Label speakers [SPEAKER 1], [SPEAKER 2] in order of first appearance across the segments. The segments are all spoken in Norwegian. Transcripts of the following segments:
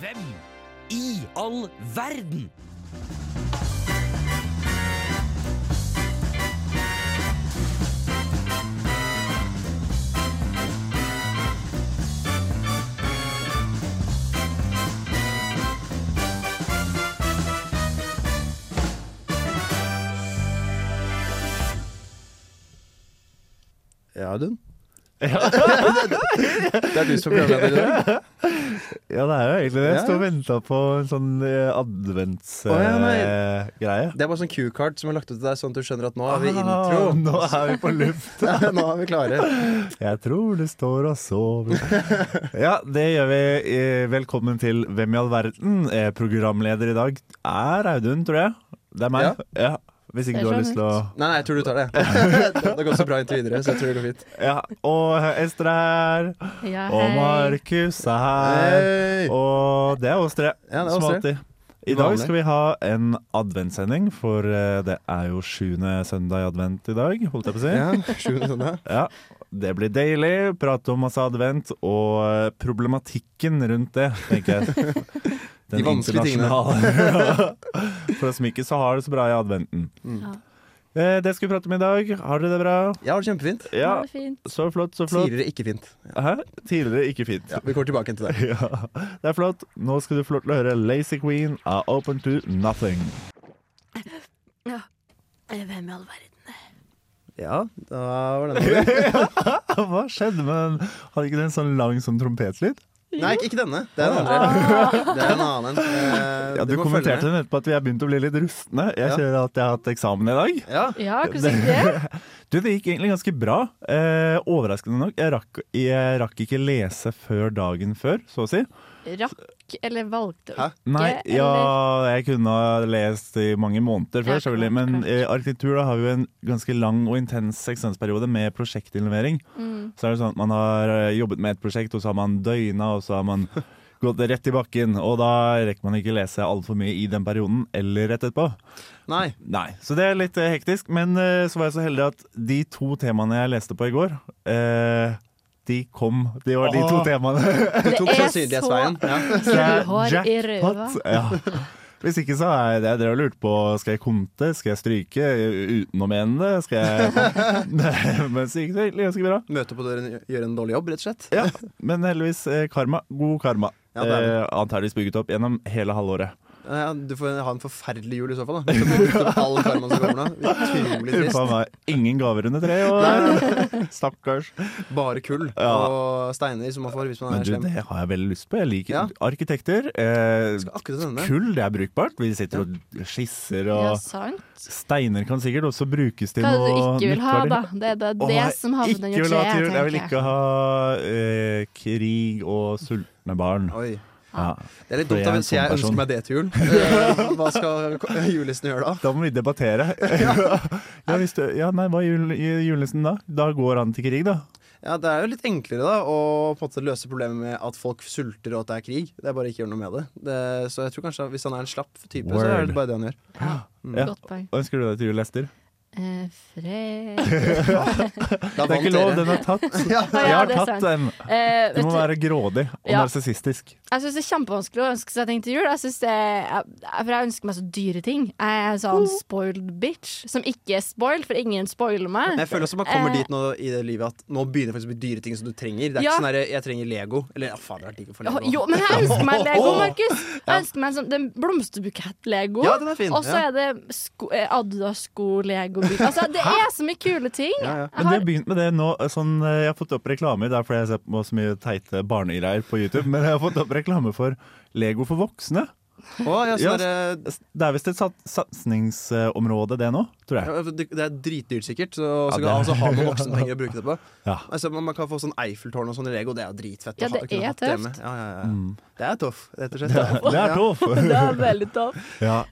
[SPEAKER 1] Hvem i all verden?
[SPEAKER 2] Ja, Audun? det er du som er programleder i dag?
[SPEAKER 3] Ja, det er jo egentlig det. Jeg
[SPEAKER 2] Ja,
[SPEAKER 3] sto
[SPEAKER 2] ja.
[SPEAKER 3] og venta på en sånn
[SPEAKER 2] Å, ja,
[SPEAKER 3] adventsgreie.
[SPEAKER 2] Det er bare sånn Q-kart som er lagt opp til deg, sånn at du skjønner at nå har vi intro.
[SPEAKER 3] Ah, Nå er vi på luft.
[SPEAKER 2] nå er vi klare.
[SPEAKER 3] Jeg tror det står og sover. Ja, det gjør vi. Eh, Velkommen til Hvem i all verden? Eh, Programleder i dag er Audun, tror jeg. Det er meg. Ja. Hvis
[SPEAKER 4] Det
[SPEAKER 3] ikke
[SPEAKER 4] er
[SPEAKER 3] du har
[SPEAKER 4] så
[SPEAKER 3] lyst til å
[SPEAKER 2] Nei, nei, jeg tror du tar det. det har gått så bra inntil videre, så jeg tror det går fint.
[SPEAKER 3] Ja. Og Ester er her.
[SPEAKER 4] Ja,
[SPEAKER 3] Og
[SPEAKER 4] hei.
[SPEAKER 3] Markus er her.
[SPEAKER 2] Eh,
[SPEAKER 3] Og det er oss tre,
[SPEAKER 2] Ja, det er
[SPEAKER 3] som
[SPEAKER 2] oss tre.
[SPEAKER 3] alltid. I dag
[SPEAKER 2] Vanlig.
[SPEAKER 3] skal vi ha en adventssending, for eh, det er jo sjuende søndag i advent i dag, holdt jeg på å si.
[SPEAKER 2] Ja, sjuende søndag.
[SPEAKER 3] Ja, Det blir deilig. Prate om masse advent og eh, problematikken rundt det, tenker jeg.
[SPEAKER 2] De vanskelige tingene.
[SPEAKER 3] internasjonale. For oss som ikke så har det så bra i adventen.
[SPEAKER 4] Ja.
[SPEAKER 3] Eh, Det skal vi prate om i dag. Har dere det bra?
[SPEAKER 2] Jeg har det kjempefint.
[SPEAKER 3] Ja.
[SPEAKER 4] det er fint.
[SPEAKER 3] Så flott, så flott.
[SPEAKER 2] Tidligere ikke fint.
[SPEAKER 3] Hæ? Tidligere ikke fint.
[SPEAKER 2] Ja, vi går tilbake igjen til det.
[SPEAKER 3] Ja, det er flott. Nå skal du få lov til å høre Lazy Queen av Open to Nothing.
[SPEAKER 4] Eh, Hvem i all verden?
[SPEAKER 2] Ja, da var den over.
[SPEAKER 3] Hva skjedde med den? Hadde ikke den sånn lang sånn trompetlyd?
[SPEAKER 2] Nei, ikke denne. Det er den andre. Det er en annen. Eh,
[SPEAKER 3] Ah. Ja, du
[SPEAKER 2] må følge
[SPEAKER 3] kommenterte
[SPEAKER 2] med.
[SPEAKER 3] den etterpå at vi er begynt å bli litt rustne. Jeg
[SPEAKER 2] Ja.
[SPEAKER 3] kjører at jeg har hatt eksamen i dag.
[SPEAKER 2] Ja.
[SPEAKER 4] Ja, hvordan gikk det?
[SPEAKER 3] Du, det gikk egentlig ganske bra. Eh, overraskende nok. Jeg rakk, jeg rakk ikke lese før dagen før, så å si.
[SPEAKER 4] Rakk eller valgte å
[SPEAKER 2] Hæ?
[SPEAKER 4] ikke?
[SPEAKER 3] Nei,
[SPEAKER 4] eller-
[SPEAKER 3] ja, jeg kunne ha lest i mange måneder før,
[SPEAKER 4] Ja,
[SPEAKER 3] selvfølgelig.
[SPEAKER 4] klart,
[SPEAKER 3] Men
[SPEAKER 4] klart.
[SPEAKER 3] eh, arkitektur da, har jo en ganske lang og intens eksamensperiode med prosjektinnlevering.
[SPEAKER 4] Mm.
[SPEAKER 3] Så er det sånn at man har eh, jobbet med et prosjekt, og så har man døgna, og så har man gått rett i bakken. Og da rekker man ikke lese altfor mye i den perioden, eller rett etterpå.
[SPEAKER 2] Nei.
[SPEAKER 3] Nei, så det er litt eh, hektisk. Men eh, så var jeg så heldig at de to temaene jeg leste på i går, eh, de kom. Det var de to
[SPEAKER 2] Åh.
[SPEAKER 3] temaene.
[SPEAKER 2] Du
[SPEAKER 4] Det
[SPEAKER 2] tok
[SPEAKER 4] er
[SPEAKER 2] sannsynlighetsveien. Ja.
[SPEAKER 3] Det er
[SPEAKER 4] Gullhår i røva.
[SPEAKER 3] jackpot. Ja. Hvis ikke så er det jeg drev og lurte på Skal jeg konte, skal jeg stryke utenom igjen det? Skal jeg Nei, Men så gikk det egentlig ganske bra.
[SPEAKER 2] Møte på døren, gjøre en dårlig jobb, rett og slett.
[SPEAKER 3] Ja, men heldigvis eh, karma. God karma.
[SPEAKER 2] Ja, det er det.
[SPEAKER 3] eh, antageligvis bygget opp gjennom hele halvåret.
[SPEAKER 2] Ja, du får ha en forferdelig jul i så fall. da Hvis du har brukt opp all karmaen som kommer nå. Utrolig
[SPEAKER 3] Uff a
[SPEAKER 2] trist.
[SPEAKER 3] meg. Ingen gaver under tre år. Stakkars.
[SPEAKER 2] Bare kull
[SPEAKER 3] Ja.
[SPEAKER 2] og steiner som man får hvis man
[SPEAKER 3] Men
[SPEAKER 2] er
[SPEAKER 3] du,
[SPEAKER 2] slem.
[SPEAKER 3] det har jeg veldig lyst på. Jeg liker
[SPEAKER 2] Ja.
[SPEAKER 3] arkitekter. Eh,
[SPEAKER 2] Skal akkurat denne.
[SPEAKER 3] kull, det er brukbart. Vi sitter og skisser og
[SPEAKER 4] Ja, sant.
[SPEAKER 3] Steiner kan sikkert også brukes til
[SPEAKER 4] Hva er det du
[SPEAKER 3] noe
[SPEAKER 4] ikke vil ha,
[SPEAKER 3] nyttverdig.
[SPEAKER 4] da? Det er da
[SPEAKER 3] Åh,
[SPEAKER 4] det som havner
[SPEAKER 3] ikke vil
[SPEAKER 4] under
[SPEAKER 3] ha til
[SPEAKER 4] treet,
[SPEAKER 3] jul. Jeg vil
[SPEAKER 4] tenker jeg.
[SPEAKER 3] ikke ha eh, krig og sultne barn.
[SPEAKER 2] Oi.
[SPEAKER 4] Ah.
[SPEAKER 3] Ja.
[SPEAKER 2] Det er litt
[SPEAKER 3] For
[SPEAKER 2] dumt
[SPEAKER 3] jeg er
[SPEAKER 2] da,
[SPEAKER 3] en
[SPEAKER 2] hvis jeg
[SPEAKER 3] sånn person.
[SPEAKER 2] ønsker meg det til jul. Eh, Hva skal ko- julenissen gjøre da?
[SPEAKER 3] Da må vi debattere. ja, hvis du, ja, nei, hva er jul, julenissen da? Da går han til krig, da.
[SPEAKER 2] Ja, Det er jo litt enklere da å på en måte løse problemet med at folk sulter og at det er krig. Det er bare ikke gjøre noe med det. det. Så jeg tror kanskje at hvis han er en slapp type, så er
[SPEAKER 3] Word.
[SPEAKER 2] det bare det han gjør.
[SPEAKER 3] Ja.
[SPEAKER 4] Godt poeng.
[SPEAKER 3] Hva ønsker du deg til jul, Ester?
[SPEAKER 4] Eh, Fred
[SPEAKER 2] Da
[SPEAKER 3] Det er
[SPEAKER 2] vant
[SPEAKER 3] ikke lov,
[SPEAKER 2] dere.
[SPEAKER 3] den er tatt.
[SPEAKER 4] ja,
[SPEAKER 3] Jeg har
[SPEAKER 4] det er
[SPEAKER 3] tatt
[SPEAKER 4] sant.
[SPEAKER 3] den.
[SPEAKER 4] Eh,
[SPEAKER 3] Du
[SPEAKER 4] vet
[SPEAKER 3] må
[SPEAKER 4] du,
[SPEAKER 3] være grådig og
[SPEAKER 4] Ja.
[SPEAKER 3] narsissistisk.
[SPEAKER 4] jeg syns det er kjempevanskelig å ønske seg ting til jul. Jeg synes det, jeg, for jeg ønsker meg så dyre ting. Jeg er sånn
[SPEAKER 3] Oh.
[SPEAKER 4] spoiled bitch, som ikke er spoiled, for ingen spoiler meg.
[SPEAKER 2] Jeg føler også man kommer
[SPEAKER 4] Eh.
[SPEAKER 2] dit nå i det livet at nå begynner det faktisk å bli dyre ting som du trenger. Det er
[SPEAKER 4] Ja.
[SPEAKER 2] ikke sånn her, jeg trenger Lego. Eller ja, faen, det er digg å få Lego.
[SPEAKER 4] Jo, men jeg ønsker meg Lego, Markus. Jeg ønsker meg en sånn, den blomsterbukett-Lego.
[SPEAKER 2] Ja, den er fin,
[SPEAKER 4] Og så
[SPEAKER 2] ja.
[SPEAKER 4] er det sko, eh, Adidas-sko-Lego. Altså, det er så mye kule ting.
[SPEAKER 2] Ja, ja.
[SPEAKER 3] Men det
[SPEAKER 4] Jeg
[SPEAKER 3] har
[SPEAKER 4] har,
[SPEAKER 3] begynt med det nå. Sånn, eh, jeg har fått opp reklamer. Det er fordi jeg ser på så mye teite barnegreier på YouTube. Men jeg har fått opp reklame for Lego for voksne.
[SPEAKER 2] Å, ja,
[SPEAKER 3] Ja.
[SPEAKER 2] sånn der, eh,
[SPEAKER 3] Det er visst et sat- satsingsområde, det nå, tror jeg.
[SPEAKER 2] Ja, eh, Det det er dritdyrt sikkert, så, så kan,
[SPEAKER 3] det er-
[SPEAKER 2] altså, har man voksne penger å bruke det på.
[SPEAKER 3] Ja.
[SPEAKER 2] Altså, man, man kan få sånn Eiffeltårn og sånn i Lego, det er jo dritfett.
[SPEAKER 4] Ja,
[SPEAKER 2] å ha-
[SPEAKER 4] det
[SPEAKER 2] kunne
[SPEAKER 4] er
[SPEAKER 2] hatt det
[SPEAKER 4] tøft.
[SPEAKER 2] hjemme. Ja, ja, ja.
[SPEAKER 3] Mm.
[SPEAKER 2] Det er tøft, rett og slett. Ja.
[SPEAKER 3] Det er tøff!
[SPEAKER 4] det er veldig tøft.
[SPEAKER 3] Ja.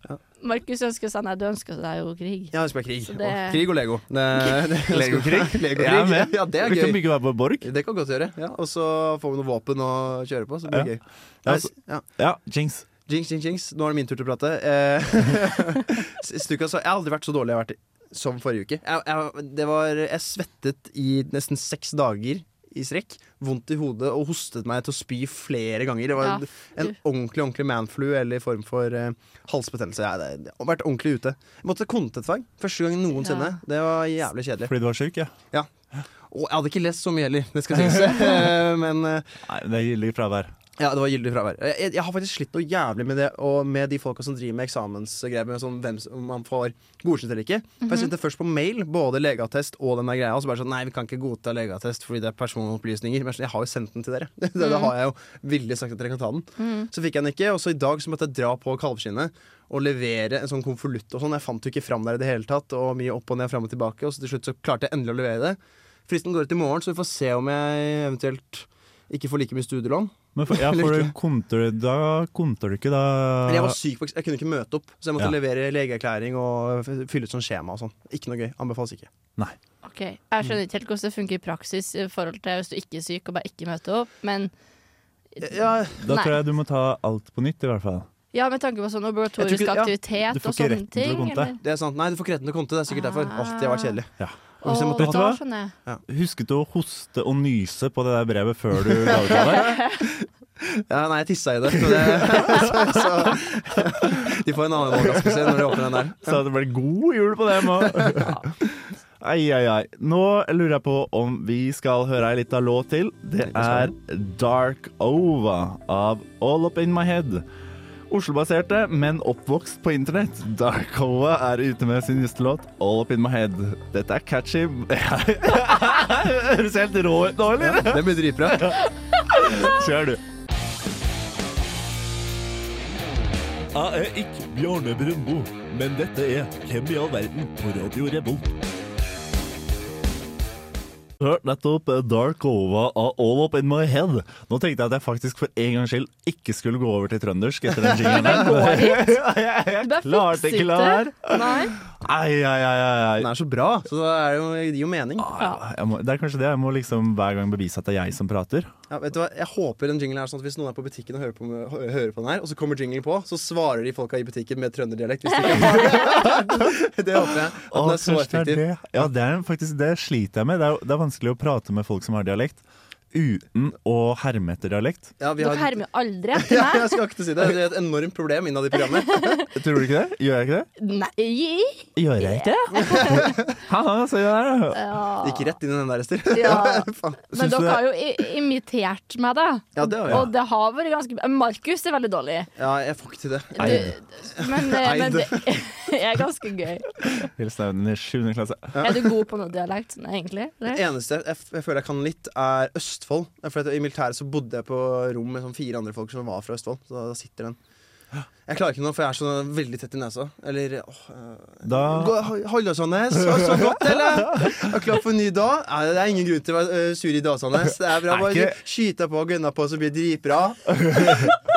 [SPEAKER 4] Markus ønsker seg Nei, du ønsker deg jo krig.
[SPEAKER 2] Ja, jeg ønsker meg krig.
[SPEAKER 4] Så det-
[SPEAKER 2] Og, krig og Lego. Det- det-
[SPEAKER 3] Legokrig?
[SPEAKER 2] Legokrig.
[SPEAKER 3] Jeg er med.
[SPEAKER 2] Ja, det er
[SPEAKER 3] Vi kan
[SPEAKER 2] gøy.
[SPEAKER 3] bygge hver vår borg.
[SPEAKER 2] Det kan godt gjøre. Ja, og så får vi noe våpen å kjøre på, så blir det gøy.
[SPEAKER 3] Ja,
[SPEAKER 2] Ja,
[SPEAKER 3] så-
[SPEAKER 2] ja.
[SPEAKER 3] Ja, jinx.
[SPEAKER 2] Jinx, jinx, jinx. Nå er det min tur til å prate. Eh, siste uka så Jeg har aldri vært så dårlig jeg har vært i- som forrige uke. Jeg, jeg, det var, jeg svettet i nesten seks dager i strekk. Vondt i hodet og hostet meg til å spy flere ganger. Det var
[SPEAKER 4] Ja,
[SPEAKER 2] en- en ordentlig ordentlig manflu eller i form for eh, halsbetennelse. Jeg, det, det har vært ordentlig ute. Jeg måtte kontetfag første gang noensinne. Det var jævlig kjedelig.
[SPEAKER 3] Fordi du var syk, ja.
[SPEAKER 2] Og jeg hadde ikke lest så mye heller, det skal sies. Eh, Men eh,
[SPEAKER 3] Nei, det er gyldig fravær.
[SPEAKER 2] ja, det var gyldig fravær. Jeg, jeg- jeg har faktisk slitt noe jævlig med det, og med de folka som driver med eksamensgreier, med sånn hvem som- om man får godkjent eller ikke. For jeg sendte først på mail, både legeattest og den der greia, og så bare sånn nei, vi kan ikke godta legeattest fordi det er personopplysninger. Men jeg er sånn, jeg har jo sendt den til dere. Det, det har jeg jo villig sagt at dere kan ta den. Så fikk jeg den ikke, og så i dag så måtte jeg dra på kalvskinnet og levere en sånn konvolutt og sånn. Jeg fant jo ikke fram der i det hele tatt, og mye opp og ned, fram og tilbake, og så til slutt så klarte jeg endelig å levere det. Fristen går ut i morgen, så vi får se om jeg eventuelt ikke får like mye studielån.
[SPEAKER 3] Men for, ja,
[SPEAKER 2] Eller
[SPEAKER 3] for
[SPEAKER 2] ikke.
[SPEAKER 3] konter, da konter du ikke, da
[SPEAKER 2] Men jeg var syk, på eks- jeg kunne ikke møte opp, så jeg måtte
[SPEAKER 3] Eh, Ja.
[SPEAKER 2] levere legeerklæring og f- fylle ut sånn skjema og sånn. Ikke noe gøy. Anbefales ikke.
[SPEAKER 4] Ok, Jeg skjønner ikke helt hvordan det funker i praksis i forhold til hvis du ikke er syk og bare ikke møter opp, men
[SPEAKER 2] Ja,
[SPEAKER 3] Da
[SPEAKER 4] Nei.
[SPEAKER 3] tror jeg du må ta alt på nytt, i hvert fall.
[SPEAKER 4] ja, med tanke på sånn
[SPEAKER 2] Jeg tror
[SPEAKER 4] obligatorisk
[SPEAKER 2] ikke- ja,
[SPEAKER 3] du får
[SPEAKER 4] aktivitet og
[SPEAKER 3] ikke
[SPEAKER 4] sånne
[SPEAKER 3] retten til å
[SPEAKER 4] ting.
[SPEAKER 3] gå til
[SPEAKER 4] eller?
[SPEAKER 2] det er sant. Nei, du får ikke retten til å konte. Det er sikkert derfor. Åh, det var kjedelig.
[SPEAKER 3] Ja.
[SPEAKER 2] Og hvis jeg
[SPEAKER 4] Åh,
[SPEAKER 2] måtte
[SPEAKER 3] Vet du
[SPEAKER 4] da
[SPEAKER 3] hva?
[SPEAKER 4] skjønner jeg.
[SPEAKER 3] Husket du å hoste og nyse på det der brevet før du ga ut av deg?
[SPEAKER 2] ja, Nei, jeg tissa i det. Så det så, så, de får en annen overraskelse når de åpner den der.
[SPEAKER 3] Så det ble god jul på dem òg. Ai, ai, ai. Nå lurer jeg på om vi skal høre ei lita låt til. Det er Dark Ova av All Up In My Head. Oslo-baserte, men oppvokst på internett. Dark Ova er ute med sin nyeste låt All Up In My Head. Dette er catchy Høres helt rå ut nå, eller?
[SPEAKER 2] Det blir dritbra.
[SPEAKER 3] Kjør, du.
[SPEAKER 5] Jeg er ikke Bjarne Brøndbo, men dette er Hvem i all verden på Radio Revolt.
[SPEAKER 3] Hørt nettopp Dark Ova av All Up In My Head. Nå tenkte jeg at jeg faktisk for en gangs skyld ikke skulle gå over til trøndersk etter den jingelen.
[SPEAKER 4] Men går det ikke?
[SPEAKER 3] jeg jeg
[SPEAKER 4] Det er
[SPEAKER 3] klarte
[SPEAKER 4] fikset
[SPEAKER 3] ikke la være.
[SPEAKER 4] Nei.
[SPEAKER 3] Ai, ai, ai, ai,
[SPEAKER 2] Den
[SPEAKER 3] ai.
[SPEAKER 2] er så bra, så det er jo, det gir jo mening.
[SPEAKER 3] Ah, Jeg må, det er kanskje det. Jeg må liksom hver gang bevise at det er jeg som prater.
[SPEAKER 2] Ja, vet du hva? Jeg håper den jinglen er sånn at hvis noen er på butikken og hører på, hø- hører på den her, og så kommer jinglen på, så svarer de folka i butikken med trønderdialekt. Hvis de ikke har det. det håper jeg. At den
[SPEAKER 3] Å,
[SPEAKER 2] er så
[SPEAKER 3] kanskje det er
[SPEAKER 2] effektiv.
[SPEAKER 3] det. Ja, det, er faktisk, det sliter jeg med. Det er, jo- det er vanskelig å prate med folk som har dialekt, uten å herme etter dialekt.
[SPEAKER 2] Ja, vi
[SPEAKER 4] Dere
[SPEAKER 2] har-
[SPEAKER 4] hermer jo aldri
[SPEAKER 2] Ja,
[SPEAKER 4] etter meg.
[SPEAKER 2] jeg skal ikke si det. Det er et enormt problem innad i programmet.
[SPEAKER 3] Tror du ikke det? Gjør jeg ikke det?
[SPEAKER 4] Nei!
[SPEAKER 3] Gjør jeg ikke det? Ha-ha, se der.
[SPEAKER 4] Ja.
[SPEAKER 2] Gikk rett inn i den der, Ester.
[SPEAKER 4] Ja.
[SPEAKER 2] Faen.
[SPEAKER 4] Men
[SPEAKER 3] Syns du
[SPEAKER 4] dere
[SPEAKER 3] det-
[SPEAKER 4] har jo i- imitert meg, da.
[SPEAKER 2] Ja, det har vi.
[SPEAKER 4] Og det har vært ganske Markus er veldig dårlig.
[SPEAKER 2] ja, jeg får ikke til det.
[SPEAKER 4] Du, men eh, men det er ganske gøy.
[SPEAKER 3] Hils nevnen i 7. klasse.
[SPEAKER 4] Er du god på noe dialekt sånn, egentlig?
[SPEAKER 2] Det
[SPEAKER 4] Eller?
[SPEAKER 2] eneste jeg, jeg føler jeg kan litt, er Østfold. For at I militæret så bodde jeg på rom med sånn fire andre folk som var fra Østfold. Så da sitter den. Jeg klarer ikke noe, for jeg er så veldig tett i nesa. Eller åh, eh,
[SPEAKER 3] Da-
[SPEAKER 2] gå- Hol- Holåsånes, var det så godt, eller? Er klar for en ny dag? Nei, det er ingen grunn til å være eh, sur i dag, Sandnes. Det er bra.
[SPEAKER 3] Er
[SPEAKER 2] Bare
[SPEAKER 3] ikke-
[SPEAKER 2] skyte på og gønne på, så blir det dritbra.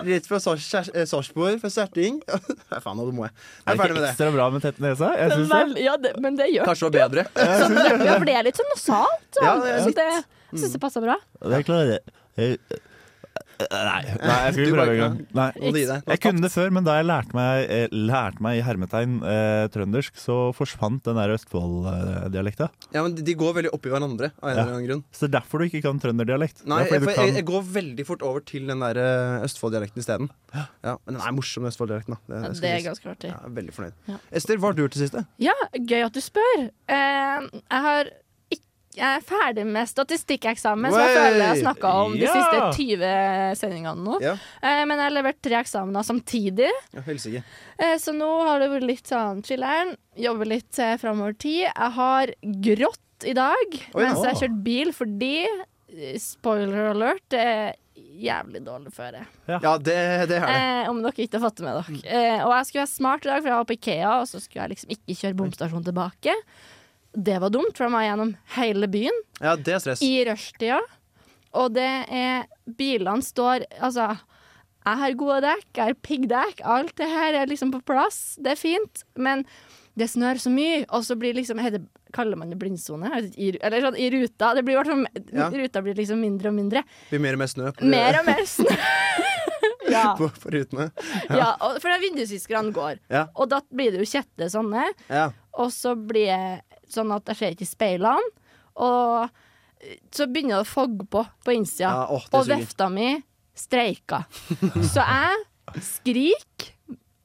[SPEAKER 2] Rett fra Sars- Sars- eh, Sarpsborg, fra Serting. Nei, faen, nå må jeg. Jeg
[SPEAKER 3] Er
[SPEAKER 2] er ferdig med
[SPEAKER 3] det ikke
[SPEAKER 2] det.
[SPEAKER 3] ekstra bra med tett nese? Jeg syns det.
[SPEAKER 4] Vel, ja, det, men det gjør
[SPEAKER 2] Kanskje det var bedre.
[SPEAKER 4] sånn, ja, for det er litt sånn nasalt. da.
[SPEAKER 2] Ja, det er
[SPEAKER 4] Så
[SPEAKER 2] litt. Mm.
[SPEAKER 4] det, jeg syns det passer bra.
[SPEAKER 3] Det klarer jeg. Nei, nei, jeg skal
[SPEAKER 2] Du
[SPEAKER 3] ikke
[SPEAKER 2] bare
[SPEAKER 3] prøve engang.
[SPEAKER 2] ikke-
[SPEAKER 3] Nei.
[SPEAKER 2] Nå må du gi deg.
[SPEAKER 3] Jeg kunne det før, men da jeg lærte meg, eh, lærte meg i hermetegn eh, trøndersk, så forsvant den der eh, Østfold-dialekta.
[SPEAKER 2] Ja, men de- De går veldig oppi hverandre av en
[SPEAKER 3] Ja.
[SPEAKER 2] eller annen grunn.
[SPEAKER 3] Så det er derfor du ikke kan trønderdialekt. Det er
[SPEAKER 2] Nei,
[SPEAKER 3] fordi
[SPEAKER 2] jeg,
[SPEAKER 3] du
[SPEAKER 2] for jeg,
[SPEAKER 3] kan-
[SPEAKER 2] jeg går veldig fort over til den der eh, Østfold-dialekten isteden. Ja, men den er morsom, den Østfold-dialekten. da.
[SPEAKER 4] Ja,
[SPEAKER 2] Det,
[SPEAKER 4] det
[SPEAKER 2] det
[SPEAKER 4] er
[SPEAKER 2] skal sies.
[SPEAKER 4] ganske artig.
[SPEAKER 2] Ja, jeg er veldig fornøyd.
[SPEAKER 4] Ja.
[SPEAKER 2] Ester, hva har du gjort i det siste?
[SPEAKER 4] Ja, gøy at du spør. Eh, jeg har ikk- jeg er ferdig med statistikkeksamen, som jeg
[SPEAKER 2] Wey!
[SPEAKER 4] føler jeg har snakka om de
[SPEAKER 3] Ja!
[SPEAKER 4] siste 20 sendingene nå.
[SPEAKER 2] Ja,
[SPEAKER 4] Eh, men jeg har levert tre eksamener samtidig.
[SPEAKER 2] ja Helsike.
[SPEAKER 4] Eh, Så nå har det vært litt sånn chiller'n. Jobber litt eh, framover tid. Jeg har grått i dag
[SPEAKER 2] Oi,
[SPEAKER 4] mens jeg har
[SPEAKER 3] å.
[SPEAKER 4] kjørt bil, fordi eh, Spoiler alert, det er jævlig dårlig føre.
[SPEAKER 2] Ja, det, det er det.
[SPEAKER 4] Eh, om dere ikke har fått det med dere. Eh, og jeg skulle være smart i dag, for jeg var på Ikea, og så skulle jeg liksom ikke kjøre bomstasjonen tilbake. Det var dumt, for jeg må gjennom hele byen
[SPEAKER 2] Ja, det er stress.
[SPEAKER 4] i rushtida. Og det er Bilene står Altså, jeg har gode dekk, jeg har piggdekk, alt det her er liksom på plass. Det er fint. Men det snør så mye, og så blir liksom heter, Kaller man det blindsone? Jeg vet ikke, i- Eller sånn i ruta. Det blir i hvert fall
[SPEAKER 2] Ja.
[SPEAKER 4] Ruta blir liksom mindre og mindre.
[SPEAKER 2] Blir mer og mer snø på,
[SPEAKER 4] Mer og mer snø. ja.
[SPEAKER 2] på, på rutene.
[SPEAKER 4] ja og, for det er vindusviskerne går.
[SPEAKER 2] Ja.
[SPEAKER 4] Og da blir det jo kjette sånne.
[SPEAKER 2] Ja.
[SPEAKER 4] Og så blir jeg sånn at jeg ser ikke speilene. Og så begynner det å fogge på på innsida.
[SPEAKER 2] Ja, åh, det
[SPEAKER 4] og
[SPEAKER 2] suger.
[SPEAKER 4] vefta mi streika. Så jeg skriker,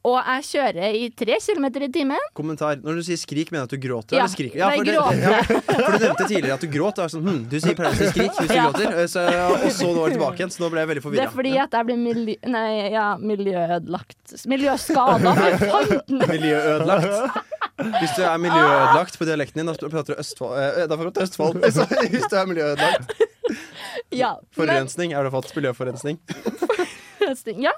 [SPEAKER 4] og jeg kjører i tre kilometer i timen.
[SPEAKER 2] Kommentar. Når du sier skrik, mener du at du gråter?
[SPEAKER 4] Ja,
[SPEAKER 2] eller skriker?
[SPEAKER 4] nei,
[SPEAKER 2] for, det-
[SPEAKER 4] gråter.
[SPEAKER 2] ja, for du nevnte tidligere at du gråt. da. Sånn, hm, du sier pleier å si skrik hvis du
[SPEAKER 4] Ja.
[SPEAKER 2] gråter. eh, Så, og så nå er du tilbake igjen, så nå ble jeg veldig
[SPEAKER 4] Det er
[SPEAKER 2] forvirra.
[SPEAKER 4] fordi at jeg blir miljø... Nei, ja, miljøødelagt. Miljøskada, for fanden!
[SPEAKER 2] Miljøødelagt. Hvis du er miljøødelagt på dialekten din, da prater du Østfold. eh, Da prater du Østfold. Så, hvis du er miljøødelagt.
[SPEAKER 4] Ja, men,
[SPEAKER 2] Forurensning. Har du fått miljøforurensning?
[SPEAKER 4] ja.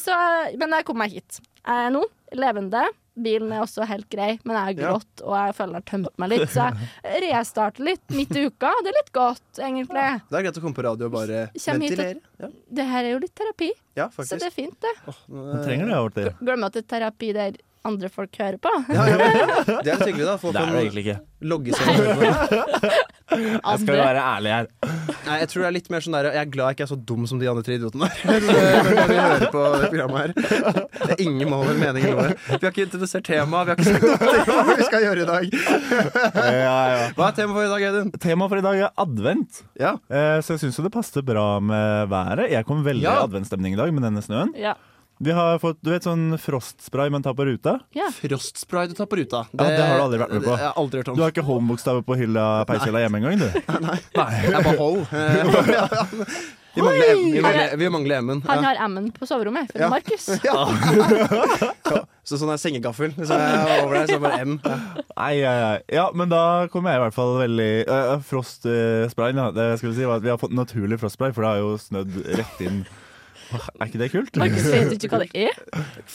[SPEAKER 4] Så, men jeg kom meg hit. Jeg er nå levende. Bilen er også helt grei, men jeg har
[SPEAKER 2] Ja.
[SPEAKER 4] grått og jeg føler jeg har tømt meg litt. Så jeg restarter litt midt i uka. Det er litt godt, egentlig.
[SPEAKER 2] Det er greit å komme på radio og bare
[SPEAKER 4] Kjem hit og-
[SPEAKER 2] ventilere. Ja,
[SPEAKER 4] Det her er jo litt terapi,
[SPEAKER 2] ja
[SPEAKER 4] så det
[SPEAKER 2] faktisk.
[SPEAKER 4] er fint, det.
[SPEAKER 3] Man trenger det av og til.
[SPEAKER 4] Glemmer at det er terapi der andre folk hører på.
[SPEAKER 2] Ja, ja, men det er litt hyggelig, da. Folk
[SPEAKER 3] Det er det
[SPEAKER 2] kan
[SPEAKER 3] egentlig ikke.
[SPEAKER 2] logge seg inn.
[SPEAKER 3] Jeg skal
[SPEAKER 4] Andre.
[SPEAKER 3] være ærlig her.
[SPEAKER 2] Nei, jeg tror det er litt mer sånn der Jeg er glad jeg ikke er så dum som de andre tre idiotene der. Når vi hører på det programmet her. Det er ingen mål eller mening i noe. Vi har ikke introdusert temaet, vi har ikke sagt noe om hva vi skal gjøre i dag.
[SPEAKER 3] Ja, ja.
[SPEAKER 2] Hva er temaet for i dag, Audun?
[SPEAKER 3] Temaet for i dag er advent.
[SPEAKER 2] Ja.
[SPEAKER 3] Eh, Så jeg syns jo det passer bra med været. Jeg kom veldig i
[SPEAKER 2] Ja.
[SPEAKER 3] adventstemning i dag med denne snøen.
[SPEAKER 4] Ja.
[SPEAKER 3] Vi har fått du vet, sånn frostspray man tar på ruta.
[SPEAKER 4] ja.
[SPEAKER 2] Frostspray du tar på ruta.
[SPEAKER 3] Ja, det har du aldri vært med på.
[SPEAKER 2] Det har Jeg har aldri hørt om.
[SPEAKER 3] Du har ikke homebokstaver på hylla peishylla hjemme engang, du.
[SPEAKER 2] Jeg er bare ho. Eh, ja. Vi mangler M- vi mangler- Vi mangler M-en.
[SPEAKER 4] Han
[SPEAKER 2] Ja.
[SPEAKER 4] har M-en på soverommet, for
[SPEAKER 2] Ja.
[SPEAKER 4] Markus.
[SPEAKER 2] Så sånn er sengegaffel. Så er jeg over der, så er det bare M. Ja.
[SPEAKER 3] Nei, nei, nei. Ja, men da kom jeg i hvert fall veldig uh, Frostsprayen, ja. Det jeg skulle si, var at vi har fått naturlig frostspray, for det har jo snødd rett inn. Er ikke det kult?
[SPEAKER 4] Markus vet ikke hva det er.